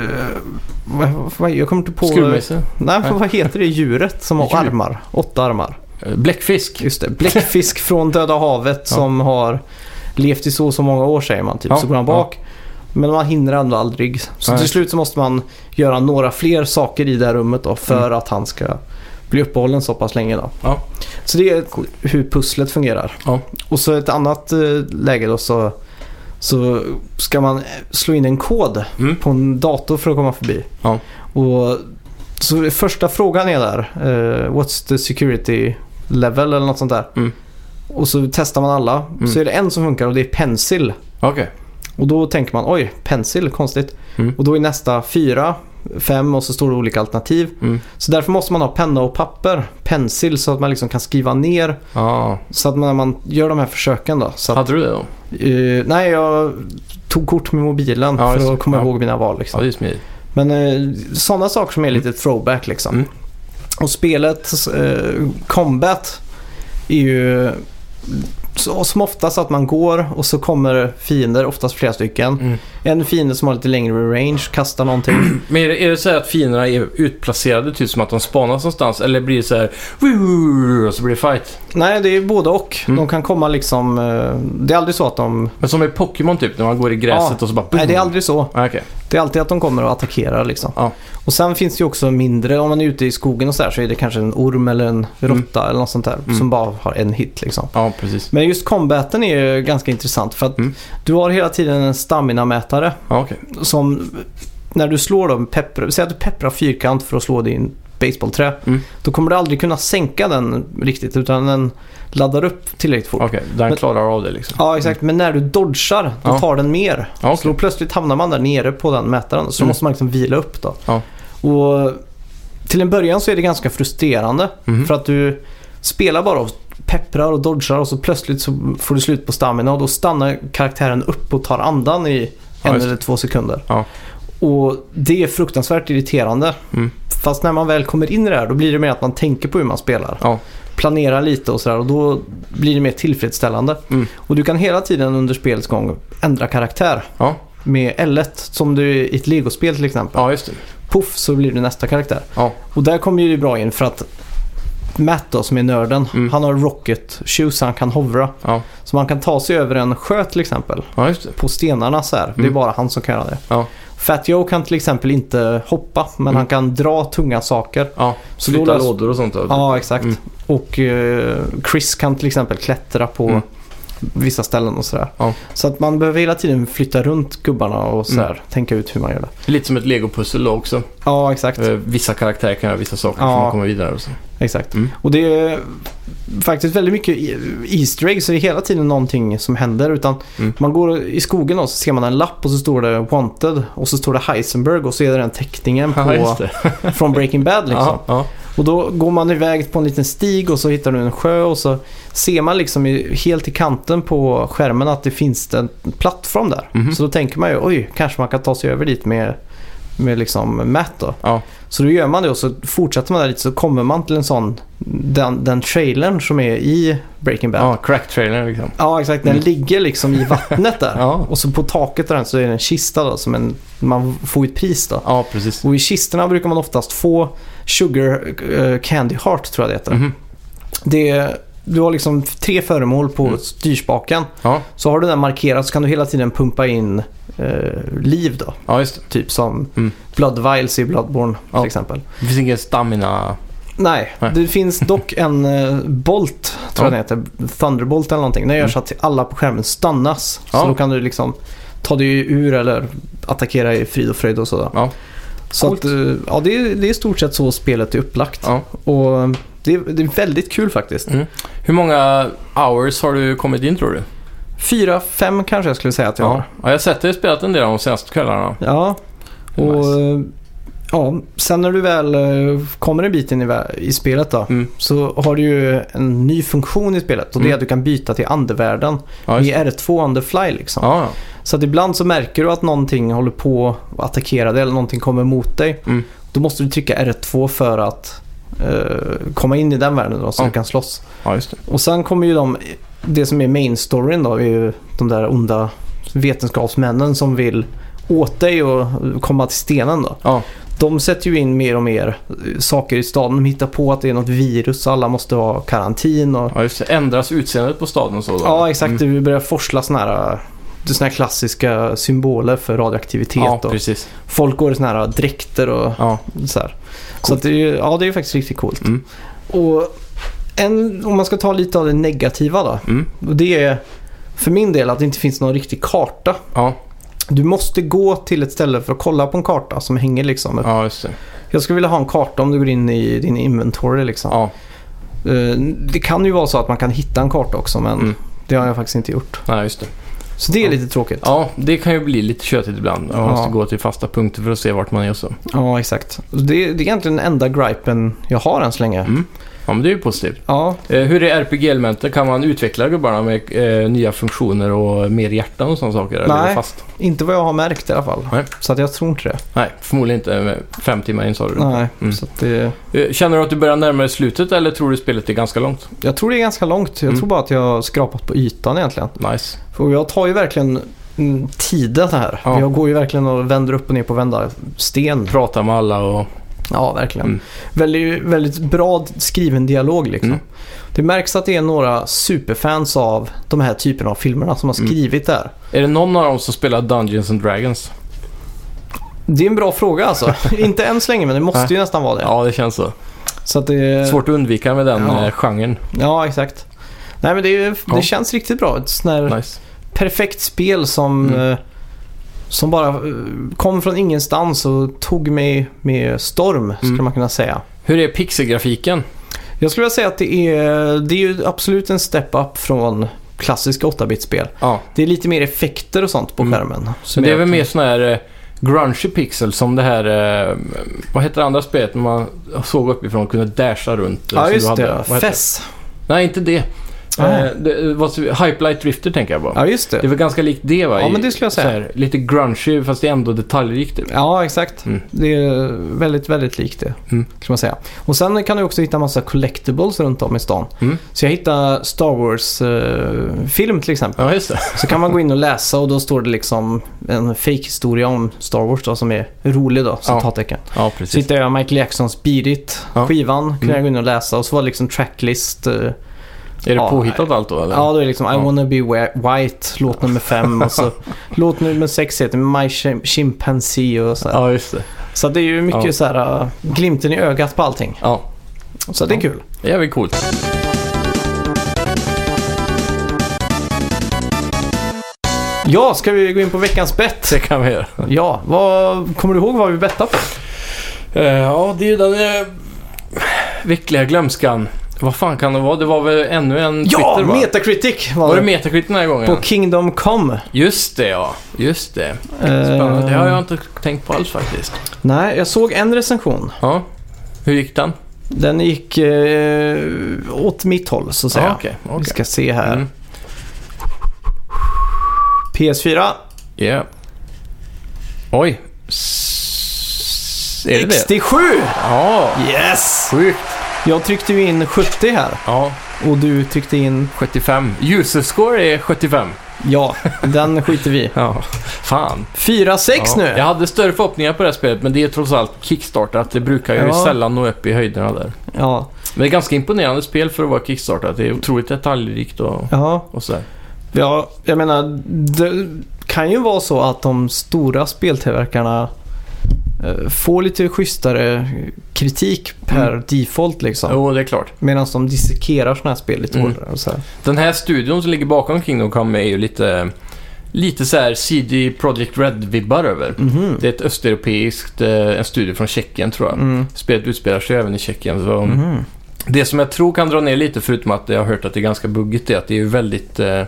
[SPEAKER 1] vad- vad- jag kommer inte på...
[SPEAKER 2] Skruvmejsel.
[SPEAKER 1] Nej, vad heter det djuret som har
[SPEAKER 2] Djur.
[SPEAKER 1] armar? Åtta armar.
[SPEAKER 2] Eh, Bläckfisk.
[SPEAKER 1] Just det, bläckfisk från Döda havet
[SPEAKER 2] Ja.
[SPEAKER 1] som har levt i så och så många år säger man. Typ.
[SPEAKER 2] Ja,
[SPEAKER 1] Så går han
[SPEAKER 2] ja.
[SPEAKER 1] bak. Men man hinner ändå aldrig. Så
[SPEAKER 2] Nej.
[SPEAKER 1] till slut så måste man göra några fler saker i det här rummet då för att han ska bli uppehållen så pass länge. Då.
[SPEAKER 2] Mm. Ja.
[SPEAKER 1] Så det är hur pusslet fungerar.
[SPEAKER 2] Ja.
[SPEAKER 1] Och så ett annat eh, läge då så, så ska man eh, slå in en kod
[SPEAKER 2] Mm.
[SPEAKER 1] på en dator för att komma förbi.
[SPEAKER 2] Ja.
[SPEAKER 1] Och så första frågan är där, eh, what's the security level eller något sånt där.
[SPEAKER 2] Mm.
[SPEAKER 1] Och så testar man alla.
[SPEAKER 2] Mm.
[SPEAKER 1] Så är det en som funkar och det är pensil.
[SPEAKER 2] Okej.
[SPEAKER 1] Och då tänker man oj, pensil, konstigt.
[SPEAKER 2] Mm.
[SPEAKER 1] Och då är nästa fyra, fem och så står det olika alternativ.
[SPEAKER 2] Mm.
[SPEAKER 1] Så därför måste man ha penna och papper, pensil, så att man liksom kan skriva ner
[SPEAKER 2] Ja.
[SPEAKER 1] så att när man gör de här försöken då. Så att,
[SPEAKER 2] Hade du det då?
[SPEAKER 1] eh, nej, jag tog kort med mobilen
[SPEAKER 2] Ja, just
[SPEAKER 1] för
[SPEAKER 2] det.
[SPEAKER 1] att komma
[SPEAKER 2] Ja.
[SPEAKER 1] ihåg mina val.
[SPEAKER 2] Ja,
[SPEAKER 1] Liksom.
[SPEAKER 2] det är smidigt.
[SPEAKER 1] Men eh, sådana saker som är lite throwback liksom.
[SPEAKER 2] Mm.
[SPEAKER 1] Och spelets eh, combat är ju så, som oftast att man går och så kommer fiender, oftast flera stycken.
[SPEAKER 2] Mm.
[SPEAKER 1] En fiende som har lite längre range, kastar någonting.
[SPEAKER 2] Men är det, är det så här att fienderna är utplacerade, typ som att de spanas någonstans? Eller blir det så här... "Woo!" Och så blir det fight?
[SPEAKER 1] Nej, det är både och.
[SPEAKER 2] Mm.
[SPEAKER 1] De kan komma liksom... eh, Det är aldrig så att de...
[SPEAKER 2] Men som i Pokémon typ, när man går i gräset
[SPEAKER 1] Ja.
[SPEAKER 2] och så bara... boom.
[SPEAKER 1] Nej, det är aldrig så.
[SPEAKER 2] Ah, okej.
[SPEAKER 1] Det är alltid att de kommer och attackerar liksom.
[SPEAKER 2] Ja.
[SPEAKER 1] Och sen finns det ju också mindre, om man är ute i skogen och sådär så är det kanske en orm eller en
[SPEAKER 2] Mm.
[SPEAKER 1] råtta eller något sånt där som bara har en hit liksom.
[SPEAKER 2] Ja, precis.
[SPEAKER 1] Men just combaten är ju ganska intressant för att
[SPEAKER 2] Mm.
[SPEAKER 1] du har hela tiden en stamina-mätare
[SPEAKER 2] Ja, Ah, okej.
[SPEAKER 1] som när du slår dem, pepprar, säg att du pepprar fyrkant för att slå din baseballträ.
[SPEAKER 2] Mm.
[SPEAKER 1] Då kommer du aldrig kunna sänka den riktigt utan den laddar upp tillräckligt fort.
[SPEAKER 2] Okej, den
[SPEAKER 1] Men-
[SPEAKER 2] klarar av det liksom.
[SPEAKER 1] Ja, exakt. Men när du dodgar, då
[SPEAKER 2] Ja.
[SPEAKER 1] tar den mer.
[SPEAKER 2] Ja,
[SPEAKER 1] Så
[SPEAKER 2] okej.
[SPEAKER 1] då plötsligt hamnar man där nere på den mätaren. Så då
[SPEAKER 2] Mm.
[SPEAKER 1] måste man liksom vila upp då.
[SPEAKER 2] Ja.
[SPEAKER 1] Och till en början så är det ganska frustrerande.
[SPEAKER 2] Mhm.
[SPEAKER 1] För att du spelar bara och pepprar och dodgar och så plötsligt så får du slut på stamina och då stannar karaktären upp och tar andan i
[SPEAKER 2] Ja,
[SPEAKER 1] en
[SPEAKER 2] just det.
[SPEAKER 1] eller två sekunder.
[SPEAKER 2] Ja.
[SPEAKER 1] Och det är fruktansvärt irriterande.
[SPEAKER 2] Mm.
[SPEAKER 1] Fast när man väl kommer in i det här då blir det mer att man tänker på hur man spelar.
[SPEAKER 2] Ja.
[SPEAKER 1] Planerar lite och sådär och då blir det mer tillfredsställande.
[SPEAKER 2] Mm.
[SPEAKER 1] Och du kan hela tiden under spelets gång ändra karaktär
[SPEAKER 2] Ja.
[SPEAKER 1] med L1 som du i ett legospel till exempel.
[SPEAKER 2] ja, just det.
[SPEAKER 1] Puff så blir du nästa karaktär.
[SPEAKER 2] Ja.
[SPEAKER 1] Och där kommer ju det bra in för att Matt då som är nörden,
[SPEAKER 2] Mm.
[SPEAKER 1] han har rocket shoes, han kan hovra.
[SPEAKER 2] Ja.
[SPEAKER 1] Så man kan ta sig över en sjö till exempel
[SPEAKER 2] ja, just det.
[SPEAKER 1] på stenarna så här. Det är
[SPEAKER 2] Mm.
[SPEAKER 1] bara han som kan göra det.
[SPEAKER 2] Ja.
[SPEAKER 1] Fat Joe kan till exempel inte hoppa men
[SPEAKER 2] Mm.
[SPEAKER 1] han kan dra tunga saker.
[SPEAKER 2] Ja,
[SPEAKER 1] Så
[SPEAKER 2] flytta
[SPEAKER 1] då lös-
[SPEAKER 2] lådor och sånt. då.
[SPEAKER 1] Ja, exakt.
[SPEAKER 2] Mm.
[SPEAKER 1] Och eh, Chris kan till exempel klättra på
[SPEAKER 2] Mm.
[SPEAKER 1] vissa ställen och sådär.
[SPEAKER 2] Ja. Mm.
[SPEAKER 1] Så att man behöver hela tiden flytta runt gubbarna och sådär, tänka ut hur man gör det.
[SPEAKER 2] Lite som ett legopussel då också.
[SPEAKER 1] Ja, exakt.
[SPEAKER 2] Eh, Vissa karaktärer kan göra vissa saker
[SPEAKER 1] Ja.
[SPEAKER 2] för att komma vidare och så.
[SPEAKER 1] exakt.
[SPEAKER 2] Mm.
[SPEAKER 1] Och det är faktiskt väldigt mycket e- Easter eggs. Så det är hela tiden någonting som händer. Utan
[SPEAKER 2] Mm.
[SPEAKER 1] Man går i skogen och så ser man en lapp och så står det Wanted och så står det Heisenberg och så är det den teckningen
[SPEAKER 2] Ja,
[SPEAKER 1] på,
[SPEAKER 2] just det.
[SPEAKER 1] från Breaking Bad. Liksom.
[SPEAKER 2] Ja, ja.
[SPEAKER 1] Och då går man iväg på en liten stig och så hittar du en sjö och så ser man liksom i, helt i kanten på skärmen att det finns en plattform där.
[SPEAKER 2] Mhm.
[SPEAKER 1] Så då tänker man ju oj, kanske man kan ta sig över dit med, med liksom Matt då.
[SPEAKER 2] Ja.
[SPEAKER 1] Så då gör man det och så fortsätter man där lite så kommer man till en sån, den, den trailern som är i Breaking Bad. Ja,
[SPEAKER 2] ja crack-trailern liksom.
[SPEAKER 1] exakt, den
[SPEAKER 2] Mm.
[SPEAKER 1] ligger liksom i vattnet där.
[SPEAKER 2] Ja.
[SPEAKER 1] Och så på taket där så är det en kista då som en, man får ett pris då.
[SPEAKER 2] Ja, precis.
[SPEAKER 1] Och i kistorna brukar man oftast få Sugar eh, Candy Heart tror jag det heter.
[SPEAKER 2] Mhm.
[SPEAKER 1] Det är, du har liksom tre föremål på
[SPEAKER 2] Mm.
[SPEAKER 1] styrspaken.
[SPEAKER 2] Ja,
[SPEAKER 1] Så har du den markerad så kan du hela tiden pumpa in eh, liv då.
[SPEAKER 2] ja, just det.
[SPEAKER 1] Typ som
[SPEAKER 2] Mm.
[SPEAKER 1] Blood Vials i Bloodborne till
[SPEAKER 2] Ja.
[SPEAKER 1] exempel.
[SPEAKER 2] Det finns ingen stamina...
[SPEAKER 1] Nej,
[SPEAKER 2] Nej.
[SPEAKER 1] det finns dock en eh, Bolt, tror jag
[SPEAKER 2] Ja. Mm.
[SPEAKER 1] den heter. Thunderbolt eller någonting. Den gör så att alla på skärmen stannas.
[SPEAKER 2] Ja.
[SPEAKER 1] Så då kan du liksom ta dig ur eller attackera i frid och fröjd och sådär.
[SPEAKER 2] Ja.
[SPEAKER 1] Så
[SPEAKER 2] Coolt.
[SPEAKER 1] att, eh, ja, det, är, det är i stort sett så spelet är upplagt.
[SPEAKER 2] Ja. Mm.
[SPEAKER 1] Och eh, det är, det är väldigt kul faktiskt.
[SPEAKER 2] Hur många hours har du kommit in tror du?
[SPEAKER 1] Fyra, fem kanske jag skulle säga att jag har.
[SPEAKER 2] ja jag har sett dig spelat en del av de senaste kvällarna.
[SPEAKER 1] Ja, och
[SPEAKER 2] Nice.
[SPEAKER 1] eh, ja, sen när du väl eh, kommer en bit in i, vä- i spelet då.
[SPEAKER 2] Mm.
[SPEAKER 1] Så har du ju en ny funktion i spelet och det är
[SPEAKER 2] Mm.
[SPEAKER 1] att du kan byta till andevärlden
[SPEAKER 2] Ja, just
[SPEAKER 1] i R2 on the fly liksom.
[SPEAKER 2] Ja, ja.
[SPEAKER 1] Så att ibland så märker du att någonting håller på att attackera dig eller någonting kommer mot dig.
[SPEAKER 2] Mm.
[SPEAKER 1] Då måste du trycka R2 för att eh, komma in i den världen då, så
[SPEAKER 2] Ja.
[SPEAKER 1] du kan slåss.
[SPEAKER 2] ja, just det.
[SPEAKER 1] Och sen kommer ju de, det som är main storyn då, är ju de där onda vetenskapsmännen som vill åt dig och komma till stenen då.
[SPEAKER 2] Ja,
[SPEAKER 1] De sätter ju in mer och mer eh, saker i staden. De hittar på att det är något virus och alla måste ha karantin och...
[SPEAKER 2] ja, just det. Ändras utseendet på staden och så då? Mm.
[SPEAKER 1] Ja, exakt. Det börjar forsla såna här, eh, såna här klassiska symboler för radioaktivitet.
[SPEAKER 2] Ja,
[SPEAKER 1] och
[SPEAKER 2] precis.
[SPEAKER 1] folk går i såna här eh, dräkter och
[SPEAKER 2] Ja.
[SPEAKER 1] så här. Så att det är, ju- ja, det är ju faktiskt riktigt coolt.
[SPEAKER 2] Mm.
[SPEAKER 1] Och en, om man ska ta lite av det negativa då.
[SPEAKER 2] Mm.
[SPEAKER 1] Och det är för min del att det inte finns någon riktig karta.
[SPEAKER 2] Ja,
[SPEAKER 1] Du måste gå till ett ställe för att kolla på en karta som hänger liksom.
[SPEAKER 2] ja, just det.
[SPEAKER 1] Jag skulle vilja ha en karta om du går in i din inventory liksom.
[SPEAKER 2] Ja,
[SPEAKER 1] Eh, Det kan ju vara så att man kan hitta en karta också men
[SPEAKER 2] Mm.
[SPEAKER 1] det har jag faktiskt inte gjort.
[SPEAKER 2] nej, just det.
[SPEAKER 1] Så det är
[SPEAKER 2] Ja.
[SPEAKER 1] lite tråkigt.
[SPEAKER 2] Ja, det kan ju bli lite tjötigt ibland. Man
[SPEAKER 1] Ja.
[SPEAKER 2] måste gå till fasta punkter för att se vart man är och så.
[SPEAKER 1] Ja, exakt. Det, det är egentligen den enda gripen jag har än så länge.
[SPEAKER 2] Mm. Ja, men det är ju positivt.
[SPEAKER 1] Ja,
[SPEAKER 2] Eh, hur är RPG-elementet? Kan man utveckla gubbarna med eh, nya funktioner och mer hjärtan och sådana saker? Eller är det
[SPEAKER 1] Nej.
[SPEAKER 2] fast?
[SPEAKER 1] inte vad jag har märkt i alla fall.
[SPEAKER 2] Nej.
[SPEAKER 1] Så att jag tror inte det.
[SPEAKER 2] Nej, förmodligen inte. eh, Fem timmar in sa du.
[SPEAKER 1] Nej,
[SPEAKER 2] Mm.
[SPEAKER 1] så att det,
[SPEAKER 2] Eh, Känner du att du börjar närma dig slutet eller tror du spelet är ganska långt?
[SPEAKER 1] jag tror det är ganska långt. Jag
[SPEAKER 2] Mm.
[SPEAKER 1] tror bara att jag har skrapat på ytan egentligen.
[SPEAKER 2] Nice.
[SPEAKER 1] För jag tar ju verkligen mm, tiden här.
[SPEAKER 2] Ja.
[SPEAKER 1] Jag går ju verkligen och vänder upp och ner på vända sten.
[SPEAKER 2] Prata med alla och...
[SPEAKER 1] Ja, verkligen.
[SPEAKER 2] Mm.
[SPEAKER 1] Väldigt, väldigt bra skriven dialog liksom.
[SPEAKER 2] Mm.
[SPEAKER 1] Det märks att det är några superfans av de här typerna av filmerna som har
[SPEAKER 2] Mm.
[SPEAKER 1] skrivit det här.
[SPEAKER 2] Är det någon av dem som spelar Dungeons and Dragons?
[SPEAKER 1] Det är en bra fråga alltså. Inte än så länge, men det måste ju nästan vara det.
[SPEAKER 2] Ja, det känns så.
[SPEAKER 1] Så att det...
[SPEAKER 2] Eh, Svårt att undvika med den
[SPEAKER 1] Ja.
[SPEAKER 2] eh, genren.
[SPEAKER 1] Ja, exakt. Nej, men det, är, det
[SPEAKER 2] Ja.
[SPEAKER 1] känns riktigt bra. Ett sånt här
[SPEAKER 2] Nice.
[SPEAKER 1] perfekt spel som,
[SPEAKER 2] Mm.
[SPEAKER 1] eh, som bara eh, kom från ingenstans och tog mig med storm, skulle
[SPEAKER 2] Mm.
[SPEAKER 1] man kunna säga.
[SPEAKER 2] Hur är pixelgrafiken?
[SPEAKER 1] Jag skulle vilja säga att det är, det är ju absolut en step up från klassiska 8-bit-spel.
[SPEAKER 2] Ja,
[SPEAKER 1] Det är lite mer effekter och sånt på
[SPEAKER 2] Mm.
[SPEAKER 1] skärmen.
[SPEAKER 2] men det är
[SPEAKER 1] gör
[SPEAKER 2] väl
[SPEAKER 1] att-
[SPEAKER 2] mer sån här eh, grungy pixel som det här... Eh, vad hette det andra spelet när man såg uppifrån och kunde dasha runt? eh, som
[SPEAKER 1] Ja,
[SPEAKER 2] du
[SPEAKER 1] just
[SPEAKER 2] hade?
[SPEAKER 1] det.
[SPEAKER 2] Vad hette
[SPEAKER 1] Fess.
[SPEAKER 2] Nej, inte det.
[SPEAKER 1] Ah.
[SPEAKER 2] Eh, det vad, Hype Light Drifter tänker jag på.
[SPEAKER 1] Ja, just
[SPEAKER 2] Det är
[SPEAKER 1] det.
[SPEAKER 2] väl ganska likt det va?
[SPEAKER 1] Ja,
[SPEAKER 2] I-
[SPEAKER 1] men det skulle jag säga.
[SPEAKER 2] så här, lite grungy fast det är ändå detaljrikt. Typ.
[SPEAKER 1] Ja, exakt.
[SPEAKER 2] Mm.
[SPEAKER 1] Det är väldigt, väldigt likt det.
[SPEAKER 2] Mm.
[SPEAKER 1] Kan man säga. Och sen kan du också hitta massa collectibles runt om i stan.
[SPEAKER 2] Mm.
[SPEAKER 1] Så jag hittade Star Wars-film till exempel.
[SPEAKER 2] Ja, just det.
[SPEAKER 1] Så kan man gå in och läsa och då står det liksom en fake-historia om Star Wars då, som är rolig då,
[SPEAKER 2] Ja.
[SPEAKER 1] citattecken.
[SPEAKER 2] Ja,
[SPEAKER 1] Så
[SPEAKER 2] precis.
[SPEAKER 1] hittade jag Michael Jacksons Beat It,
[SPEAKER 2] Ja.
[SPEAKER 1] skivan, kunde
[SPEAKER 2] Mm.
[SPEAKER 1] jag gå in och läsa och så var det liksom tracklist. eh,
[SPEAKER 2] Är det
[SPEAKER 1] Ja,
[SPEAKER 2] påhittat allt då eller?
[SPEAKER 1] Ja, då är det liksom I
[SPEAKER 2] Ja.
[SPEAKER 1] wanna be wi- white, låt nummer fem och så låt nummer sex heter My Chim- Chimpanzee och så här.
[SPEAKER 2] ja just det.
[SPEAKER 1] Så det är ju mycket
[SPEAKER 2] Ja.
[SPEAKER 1] så här eh, glimten i ögat på allting.
[SPEAKER 2] Ja.
[SPEAKER 1] Så det är
[SPEAKER 2] Ja.
[SPEAKER 1] kul.
[SPEAKER 2] Det är jävligt coolt.
[SPEAKER 1] Ja, ska vi gå in på veckans bett?
[SPEAKER 2] Det kan vi göra.
[SPEAKER 1] Ja, vad, kommer du ihåg vad vi bettade på?
[SPEAKER 2] Eh, ja, det är ju den uh, veckliga glömskan. Vad fan kan det vara? Det var väl ännu en
[SPEAKER 1] Ja,
[SPEAKER 2] Twitter va?
[SPEAKER 1] Metacritic var,
[SPEAKER 2] Var det
[SPEAKER 1] det.
[SPEAKER 2] Metacritic den här gången?
[SPEAKER 1] På Kingdom Come.
[SPEAKER 2] Just det ja. Just det. Spännande.
[SPEAKER 1] Eh,
[SPEAKER 2] Det har jag inte tänkt på alls faktiskt.
[SPEAKER 1] Nej, jag såg en recension.
[SPEAKER 2] Ja. Hur gick den?
[SPEAKER 1] Den gick eh, åt mitt håll så att säga.
[SPEAKER 2] Ja, okej.
[SPEAKER 1] Vi
[SPEAKER 2] okej.
[SPEAKER 1] ska se här.
[SPEAKER 2] Mm.
[SPEAKER 1] PS4.
[SPEAKER 2] Yeah. Oj. S- är det det?
[SPEAKER 1] 67!
[SPEAKER 2] Ja.
[SPEAKER 1] Yes!
[SPEAKER 2] Sjukt.
[SPEAKER 1] Jag tryckte ju in 70 här
[SPEAKER 2] Ja.
[SPEAKER 1] och du tryckte in...
[SPEAKER 2] 75. User score är 75.
[SPEAKER 1] Ja, den skiter vi i.
[SPEAKER 2] Ja. Fan.
[SPEAKER 1] 4-6
[SPEAKER 2] Ja.
[SPEAKER 1] nu!
[SPEAKER 2] Jag hade större förhoppningar på det här spelet, men det är trots allt kickstartat. Det brukar ju
[SPEAKER 1] Ja.
[SPEAKER 2] sällan nå upp i höjderna där.
[SPEAKER 1] Ja,
[SPEAKER 2] Men det är ganska imponerande spel för att vara kickstartat. Det är otroligt detaljrikt och,
[SPEAKER 1] ja.
[SPEAKER 2] och sådär.
[SPEAKER 1] ja, jag menar, det kan ju vara så att de stora speltillverkarna eh, får lite schysstare kritik per default liksom.
[SPEAKER 2] Mm. Jo, det är klart.
[SPEAKER 1] Medan de dissekerar sådana här spel lite
[SPEAKER 2] Mm.
[SPEAKER 1] hårdare. Och så här.
[SPEAKER 2] Den här studion som ligger bakom Kingdom Come är ju lite, lite så här CD Projekt Red-vibbar över.
[SPEAKER 1] Mhm.
[SPEAKER 2] Det är ett östeuropeiskt, eh, en studio från Tjeckien tror jag.
[SPEAKER 1] Mm.
[SPEAKER 2] Spelet utspelar sig även i Tjeckien. Så
[SPEAKER 1] Mhm.
[SPEAKER 2] Det som jag tror kan dra ner lite, förutom att jag har hört att det är ganska buggigt, är att det är ju väldigt eh,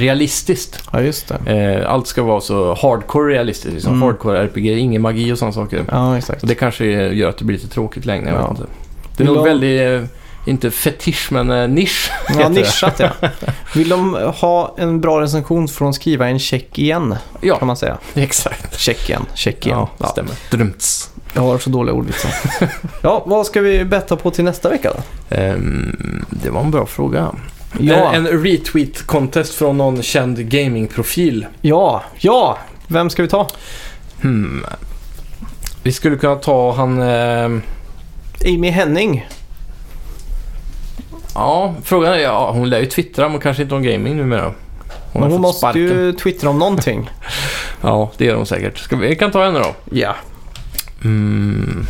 [SPEAKER 2] realistiskt.
[SPEAKER 1] Ja, just det.
[SPEAKER 2] Eh, allt ska vara så hardcore realistiskt, liksom.
[SPEAKER 1] Mm.
[SPEAKER 2] hardcore RPG, ingen magi och sådana saker.
[SPEAKER 1] Ja, exakt.
[SPEAKER 2] Så det kanske gör att det blir lite tråkigt längre, jag
[SPEAKER 1] Ja.
[SPEAKER 2] vet inte. Det
[SPEAKER 1] Vill
[SPEAKER 2] är nog
[SPEAKER 1] de-
[SPEAKER 2] väldigt, eh, inte fetisch, men eh, nisch.
[SPEAKER 1] Ja,
[SPEAKER 2] heter det.
[SPEAKER 1] nischat ja. Vill de ha en bra recension så får de skriva en check igen,
[SPEAKER 2] Ja,
[SPEAKER 1] kan man säga.
[SPEAKER 2] exakt.
[SPEAKER 1] Check igen, check igen.
[SPEAKER 2] Ja,
[SPEAKER 1] Ja,
[SPEAKER 2] stämmer. Drumts.
[SPEAKER 1] Jag har så dåliga
[SPEAKER 2] liksom.
[SPEAKER 1] ordvitsar. ja, vad ska vi betta på till nästa vecka då?
[SPEAKER 2] Ehm, det var en bra fråga.
[SPEAKER 1] Ja,
[SPEAKER 2] En, en retweet-contest från någon känd gaming-profil.
[SPEAKER 1] ja, ja! Vem ska vi ta?
[SPEAKER 2] Hmm. Vi skulle kunna ta han... ehm,
[SPEAKER 1] Amy Henning.
[SPEAKER 2] Ja, frågan är... Ja, hon lär ju twittra, men kanske inte om gaming numera.
[SPEAKER 1] Hon, hon
[SPEAKER 2] har fått
[SPEAKER 1] måste
[SPEAKER 2] sparken.
[SPEAKER 1] ju twittra om någonting.
[SPEAKER 2] Ja, det gör hon säkert. Ska vi, vi kan ta henne då.
[SPEAKER 1] ja.
[SPEAKER 2] Mm.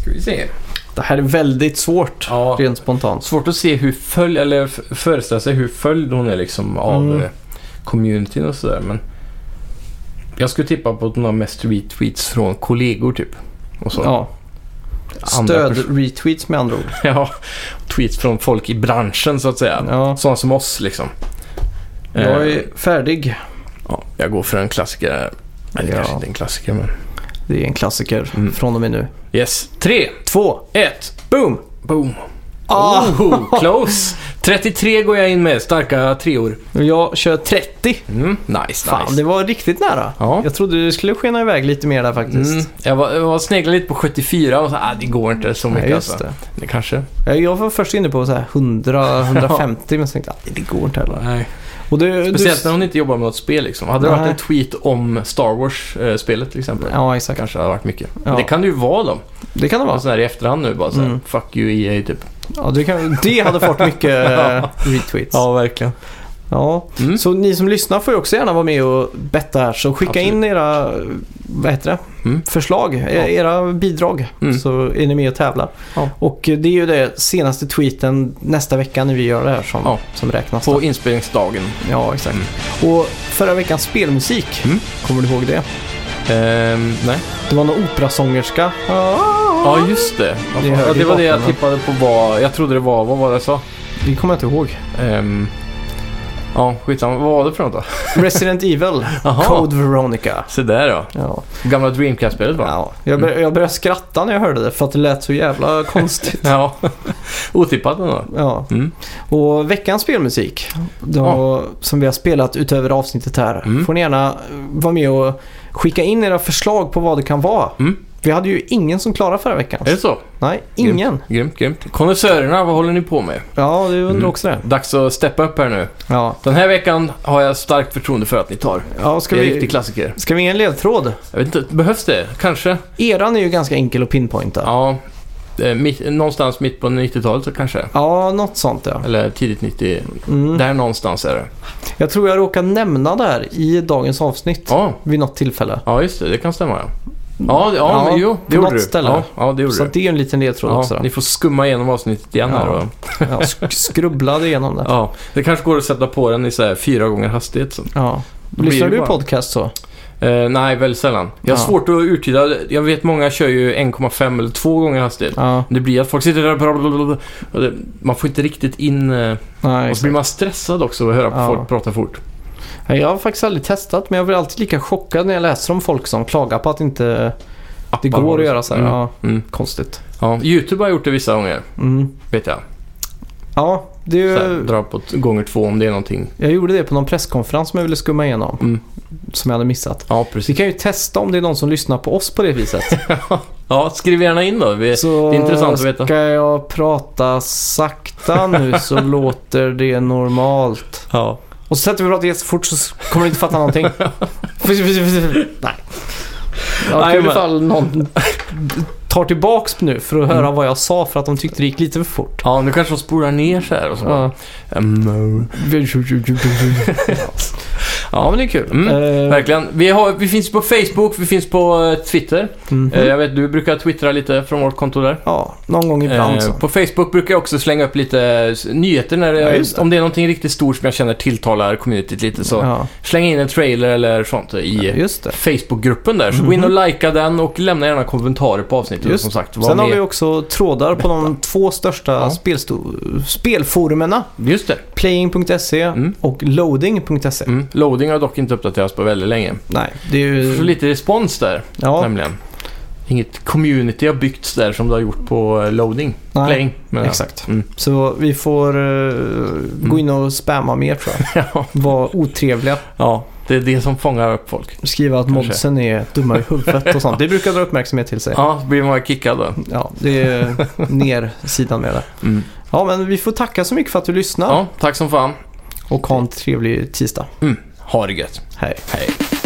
[SPEAKER 2] Ska vi se.
[SPEAKER 1] Det här är väldigt svårt,
[SPEAKER 2] Ja.
[SPEAKER 1] rent spontant.
[SPEAKER 2] Svårt att se hur följd, eller f- föreställa sig hur följd hon är liksom av
[SPEAKER 1] Mm.
[SPEAKER 2] eh, communityn och sådär. Men jag skulle tippa på att hon har mest retweets från kollegor typ. Och så.
[SPEAKER 1] Ja.
[SPEAKER 2] Andra
[SPEAKER 1] Stöd retweets med andra ord.
[SPEAKER 2] Ja, tweets från folk i branschen så att säga.
[SPEAKER 1] Ja.
[SPEAKER 2] Sådana som oss liksom.
[SPEAKER 1] Jag
[SPEAKER 2] Eh,
[SPEAKER 1] är färdig.
[SPEAKER 2] ja, jag går för en klassiker. här. Eller
[SPEAKER 1] Ja.
[SPEAKER 2] kanske inte en klassiker men...
[SPEAKER 1] Det är en klassiker
[SPEAKER 2] Mm.
[SPEAKER 1] från och med nu.
[SPEAKER 2] Yes. Tre,
[SPEAKER 1] Två,
[SPEAKER 2] ett,
[SPEAKER 1] boom!
[SPEAKER 2] boom.
[SPEAKER 1] Ah!
[SPEAKER 2] Oh, close! 33 går jag in med, starka treor.
[SPEAKER 1] Jag kör 30.
[SPEAKER 2] Mm, nice,
[SPEAKER 1] Fan,
[SPEAKER 2] nice.
[SPEAKER 1] det var riktigt nära.
[SPEAKER 2] Ja.
[SPEAKER 1] Jag trodde det skulle skena iväg lite mer där faktiskt.
[SPEAKER 2] Mm, jag var, jag var sneglade lite på 74 och så, ah, det går inte så mycket
[SPEAKER 1] Nej, just
[SPEAKER 2] alltså.
[SPEAKER 1] det.
[SPEAKER 2] Det kanske.
[SPEAKER 1] Jag- Eh, Jag var först inne på så här 100-150 men så tänkte jag "Nej, det går inte heller.
[SPEAKER 2] Nej.
[SPEAKER 1] Och du,
[SPEAKER 2] Speciellt
[SPEAKER 1] du...
[SPEAKER 2] när hon inte jobbar med något spel liksom. Hade det
[SPEAKER 1] Nej.
[SPEAKER 2] varit en tweet om Star Wars-spelet till exempel.
[SPEAKER 1] Ja, exakt.
[SPEAKER 2] Kanske hade varit mycket.
[SPEAKER 1] Ja.
[SPEAKER 2] Det kan det ju vara då.
[SPEAKER 1] Det kan det vara.
[SPEAKER 2] Så här i efterhand nu bara så här,
[SPEAKER 1] Mm.
[SPEAKER 2] Fuck you EA typ.
[SPEAKER 1] Ja, det, kan... det hade fått mycket eh, retweets. Ja.
[SPEAKER 2] verkligen. Mm.
[SPEAKER 1] Så ni som lyssnar får ju också gärna vara med och betta här. Så skicka
[SPEAKER 2] Absolut.
[SPEAKER 1] in era vad heter det?
[SPEAKER 2] Mm.
[SPEAKER 1] förslag, e-
[SPEAKER 2] Ja.
[SPEAKER 1] era bidrag.
[SPEAKER 2] Mm.
[SPEAKER 1] Så är ni med och tävlar.
[SPEAKER 2] Ja.
[SPEAKER 1] Och det är ju det senaste tweeten nästa vecka när vi gör det här som,
[SPEAKER 2] Ja.
[SPEAKER 1] som räknas.
[SPEAKER 2] På inspelningsdagen.
[SPEAKER 1] Ja, exakt. Och förra veckans spelmusik,
[SPEAKER 2] Mm.
[SPEAKER 1] kommer du ihåg det?
[SPEAKER 2] Ehm, nej.
[SPEAKER 1] Det var någon operasångerska.
[SPEAKER 2] Ja, just det.
[SPEAKER 1] Det
[SPEAKER 2] Det,
[SPEAKER 1] hörde
[SPEAKER 2] ja, det
[SPEAKER 1] ju
[SPEAKER 2] var det jag
[SPEAKER 1] bakgrunden.
[SPEAKER 2] tippade på vad... Jag trodde det var... Vad var det jag sa?
[SPEAKER 1] Det kommer jag inte ihåg.
[SPEAKER 2] Ehm, ja, skitsamma. Vad var det för något då?
[SPEAKER 1] Resident Evil,
[SPEAKER 2] Jaha.
[SPEAKER 1] Code Veronica.
[SPEAKER 2] Se där då.
[SPEAKER 1] Ja.
[SPEAKER 2] Gamla Dreamcast-spelet va?
[SPEAKER 1] Ja. Jag,
[SPEAKER 2] Mm.
[SPEAKER 1] bör, jag började skratta när jag hörde det för att det lät så jävla konstigt.
[SPEAKER 2] Ja. Otippat ändå.
[SPEAKER 1] Ja.
[SPEAKER 2] Mm.
[SPEAKER 1] Och veckans spelmusik då, som vi har spelat utöver avsnittet här
[SPEAKER 2] Mm.
[SPEAKER 1] får ni gärna eh, vara med och skicka in era förslag på vad det kan vara.
[SPEAKER 2] Mm.
[SPEAKER 1] Vi hade ju ingen som klarade förra veckan.
[SPEAKER 2] Är det så?
[SPEAKER 1] Nej, ingen.
[SPEAKER 2] Grymt, grymt. Konnässörerna, vad håller ni på med?
[SPEAKER 1] Ja, det undrar
[SPEAKER 2] Mm.
[SPEAKER 1] också det.
[SPEAKER 2] Dags att steppa upp här nu.
[SPEAKER 1] Ja.
[SPEAKER 2] Den här veckan har jag starkt förtroende för att ni tar.
[SPEAKER 1] Ja, ska,
[SPEAKER 2] det är en
[SPEAKER 1] vi,
[SPEAKER 2] riktig klassiker.
[SPEAKER 1] ska vi ge en ledtråd?
[SPEAKER 2] Jag vet inte, behövs det? Kanske?
[SPEAKER 1] Eran är ju ganska enkel att pinpointa. Ja,
[SPEAKER 2] Ja. Eh, Mitt, någonstans mitt på 90-talet så kanske.
[SPEAKER 1] något sånt ja.
[SPEAKER 2] Eller tidigt 90.
[SPEAKER 1] Mm.
[SPEAKER 2] Där någonstans är det.
[SPEAKER 1] Jag tror jag råkar nämna det här i dagens avsnitt
[SPEAKER 2] Ja,
[SPEAKER 1] vid något tillfälle.
[SPEAKER 2] ja just det. Det kan stämma ja. Ja, det-
[SPEAKER 1] Ja,
[SPEAKER 2] ja, men jo.
[SPEAKER 1] på
[SPEAKER 2] Det gjorde
[SPEAKER 1] något
[SPEAKER 2] du.
[SPEAKER 1] ställe.
[SPEAKER 2] Ja, ja, det gjorde
[SPEAKER 1] Så
[SPEAKER 2] du.
[SPEAKER 1] det är ju en liten ledtråd också.
[SPEAKER 2] Ja,
[SPEAKER 1] Då.
[SPEAKER 2] ni får skumma igenom avsnittet igen här
[SPEAKER 1] Ja.
[SPEAKER 2] då.
[SPEAKER 1] Ja, sk- skrubblade igenom det.
[SPEAKER 2] Ja, det kanske går att sätta på den i så här fyra gånger hastighet sen.
[SPEAKER 1] Ja.
[SPEAKER 2] blir
[SPEAKER 1] Lyssnar
[SPEAKER 2] det
[SPEAKER 1] du på
[SPEAKER 2] bara-
[SPEAKER 1] podcast så?
[SPEAKER 2] Eh, nej, väldigt sällan. Jag har
[SPEAKER 1] Ja.
[SPEAKER 2] svårt att urtyda. Jag vet många kör ju 1,5 eller 2 gånger hastighet.
[SPEAKER 1] Ja.
[SPEAKER 2] Det blir att folk sitter där blablabla, och det, Man får inte riktigt in... eh,
[SPEAKER 1] Nej,
[SPEAKER 2] Och så blir man stressad också att höra på
[SPEAKER 1] Ja.
[SPEAKER 2] folk prata fort.
[SPEAKER 1] Nej, jag har faktiskt aldrig testat men jag blir alltid lika chockad när jag läser om folk som klagar på att inte det
[SPEAKER 2] Appar
[SPEAKER 1] går
[SPEAKER 2] och
[SPEAKER 1] att göra så här.
[SPEAKER 2] Mm.
[SPEAKER 1] Ja,
[SPEAKER 2] Mm.
[SPEAKER 1] konstigt.
[SPEAKER 2] Ja, YouTube har gjort det vissa gånger,
[SPEAKER 1] Mm.
[SPEAKER 2] vet jag.
[SPEAKER 1] Ja, det är
[SPEAKER 2] Så här,
[SPEAKER 1] ju...
[SPEAKER 2] dra på t- gånger två om det är någonting.
[SPEAKER 1] Jag gjorde det på någon presskonferens som jag ville skumma igenom.
[SPEAKER 2] Mm.
[SPEAKER 1] Som jag hade missat.
[SPEAKER 2] Ja,
[SPEAKER 1] Vi
[SPEAKER 2] precis.
[SPEAKER 1] kan ju testa om det är någon som lyssnar på oss på det viset.
[SPEAKER 2] Ja, skriv gärna in då. Vi,
[SPEAKER 1] Så
[SPEAKER 2] det är intressant att veta.
[SPEAKER 1] ska jag prata sakta nu så låter det normalt.
[SPEAKER 2] Ja.
[SPEAKER 1] Och så sätter vi och pratar jättefort så kommer du inte fatta någonting. Nej. Ja,
[SPEAKER 2] Nej,
[SPEAKER 1] kul
[SPEAKER 2] men-
[SPEAKER 1] ifall någon tar tillbaks nu för att höra
[SPEAKER 2] Mm.
[SPEAKER 1] vad jag sa för att de tyckte det gick lite för fort. Eh,
[SPEAKER 2] ja, nu kanske de spolar ner så här och så.
[SPEAKER 1] Ja.
[SPEAKER 2] Mm.
[SPEAKER 1] ja, men det är kul.
[SPEAKER 2] Mm,
[SPEAKER 1] Eh,
[SPEAKER 2] Verkligen. Vi, har, vi finns på Facebook, vi finns på eh, Twitter.
[SPEAKER 1] mhm.
[SPEAKER 2] Eh, Jag vet, du brukar twittra lite från vårt konto där.
[SPEAKER 1] Ja, någon gång ibland
[SPEAKER 2] Eh,
[SPEAKER 1] så.
[SPEAKER 2] På Facebook brukar jag också slänga upp lite eh, nyheter när det,
[SPEAKER 1] Ja, just det.
[SPEAKER 2] om det är någonting riktigt stort som jag känner tilltalar communityt lite så
[SPEAKER 1] Ja,
[SPEAKER 2] släng in en trailer eller sånt i
[SPEAKER 1] just det. Mhm.
[SPEAKER 2] Facebookgruppen där. Så gå in och likea den och lämna gärna kommentarer på avsnittet
[SPEAKER 1] Just.
[SPEAKER 2] som sagt. Var
[SPEAKER 1] Sen har
[SPEAKER 2] med.
[SPEAKER 1] vi också trådar på de två största
[SPEAKER 2] Ja.
[SPEAKER 1] spelsto- spelforumerna.
[SPEAKER 2] Just det.
[SPEAKER 1] Playing.se
[SPEAKER 2] Mm.
[SPEAKER 1] och Loading.se.
[SPEAKER 2] Mm. Loading har dock inte uppdaterats på väldigt länge.
[SPEAKER 1] E. Nej, det är
[SPEAKER 2] Så
[SPEAKER 1] ju...
[SPEAKER 2] lite respons där
[SPEAKER 1] Ja,
[SPEAKER 2] nämligen. Inget community har byggts där som det har gjort på eh, loading.
[SPEAKER 1] nej,
[SPEAKER 2] Playing. menar jag.
[SPEAKER 1] exakt.
[SPEAKER 2] Mm.
[SPEAKER 1] Så vi får eh, gå in och spamma mer tror jag.
[SPEAKER 2] Ja.
[SPEAKER 1] Vara otrevliga.
[SPEAKER 2] ja, det är det som fångar upp folk.
[SPEAKER 1] Skriva att
[SPEAKER 2] Kanske.
[SPEAKER 1] modsen är dumma i huvudet och sånt. Det brukar dra uppmärksamhet till sig.
[SPEAKER 2] Ja, så blir man kickad då.
[SPEAKER 1] Ja, det är ner sidan med det.
[SPEAKER 2] Mm.
[SPEAKER 1] Ja, men vi får tacka så mycket för att du lyssnade
[SPEAKER 2] Ja, tack som fan.
[SPEAKER 1] och ha en trevlig tisdag.
[SPEAKER 2] Mm. Ha det gött.
[SPEAKER 1] Hej.
[SPEAKER 2] Hej.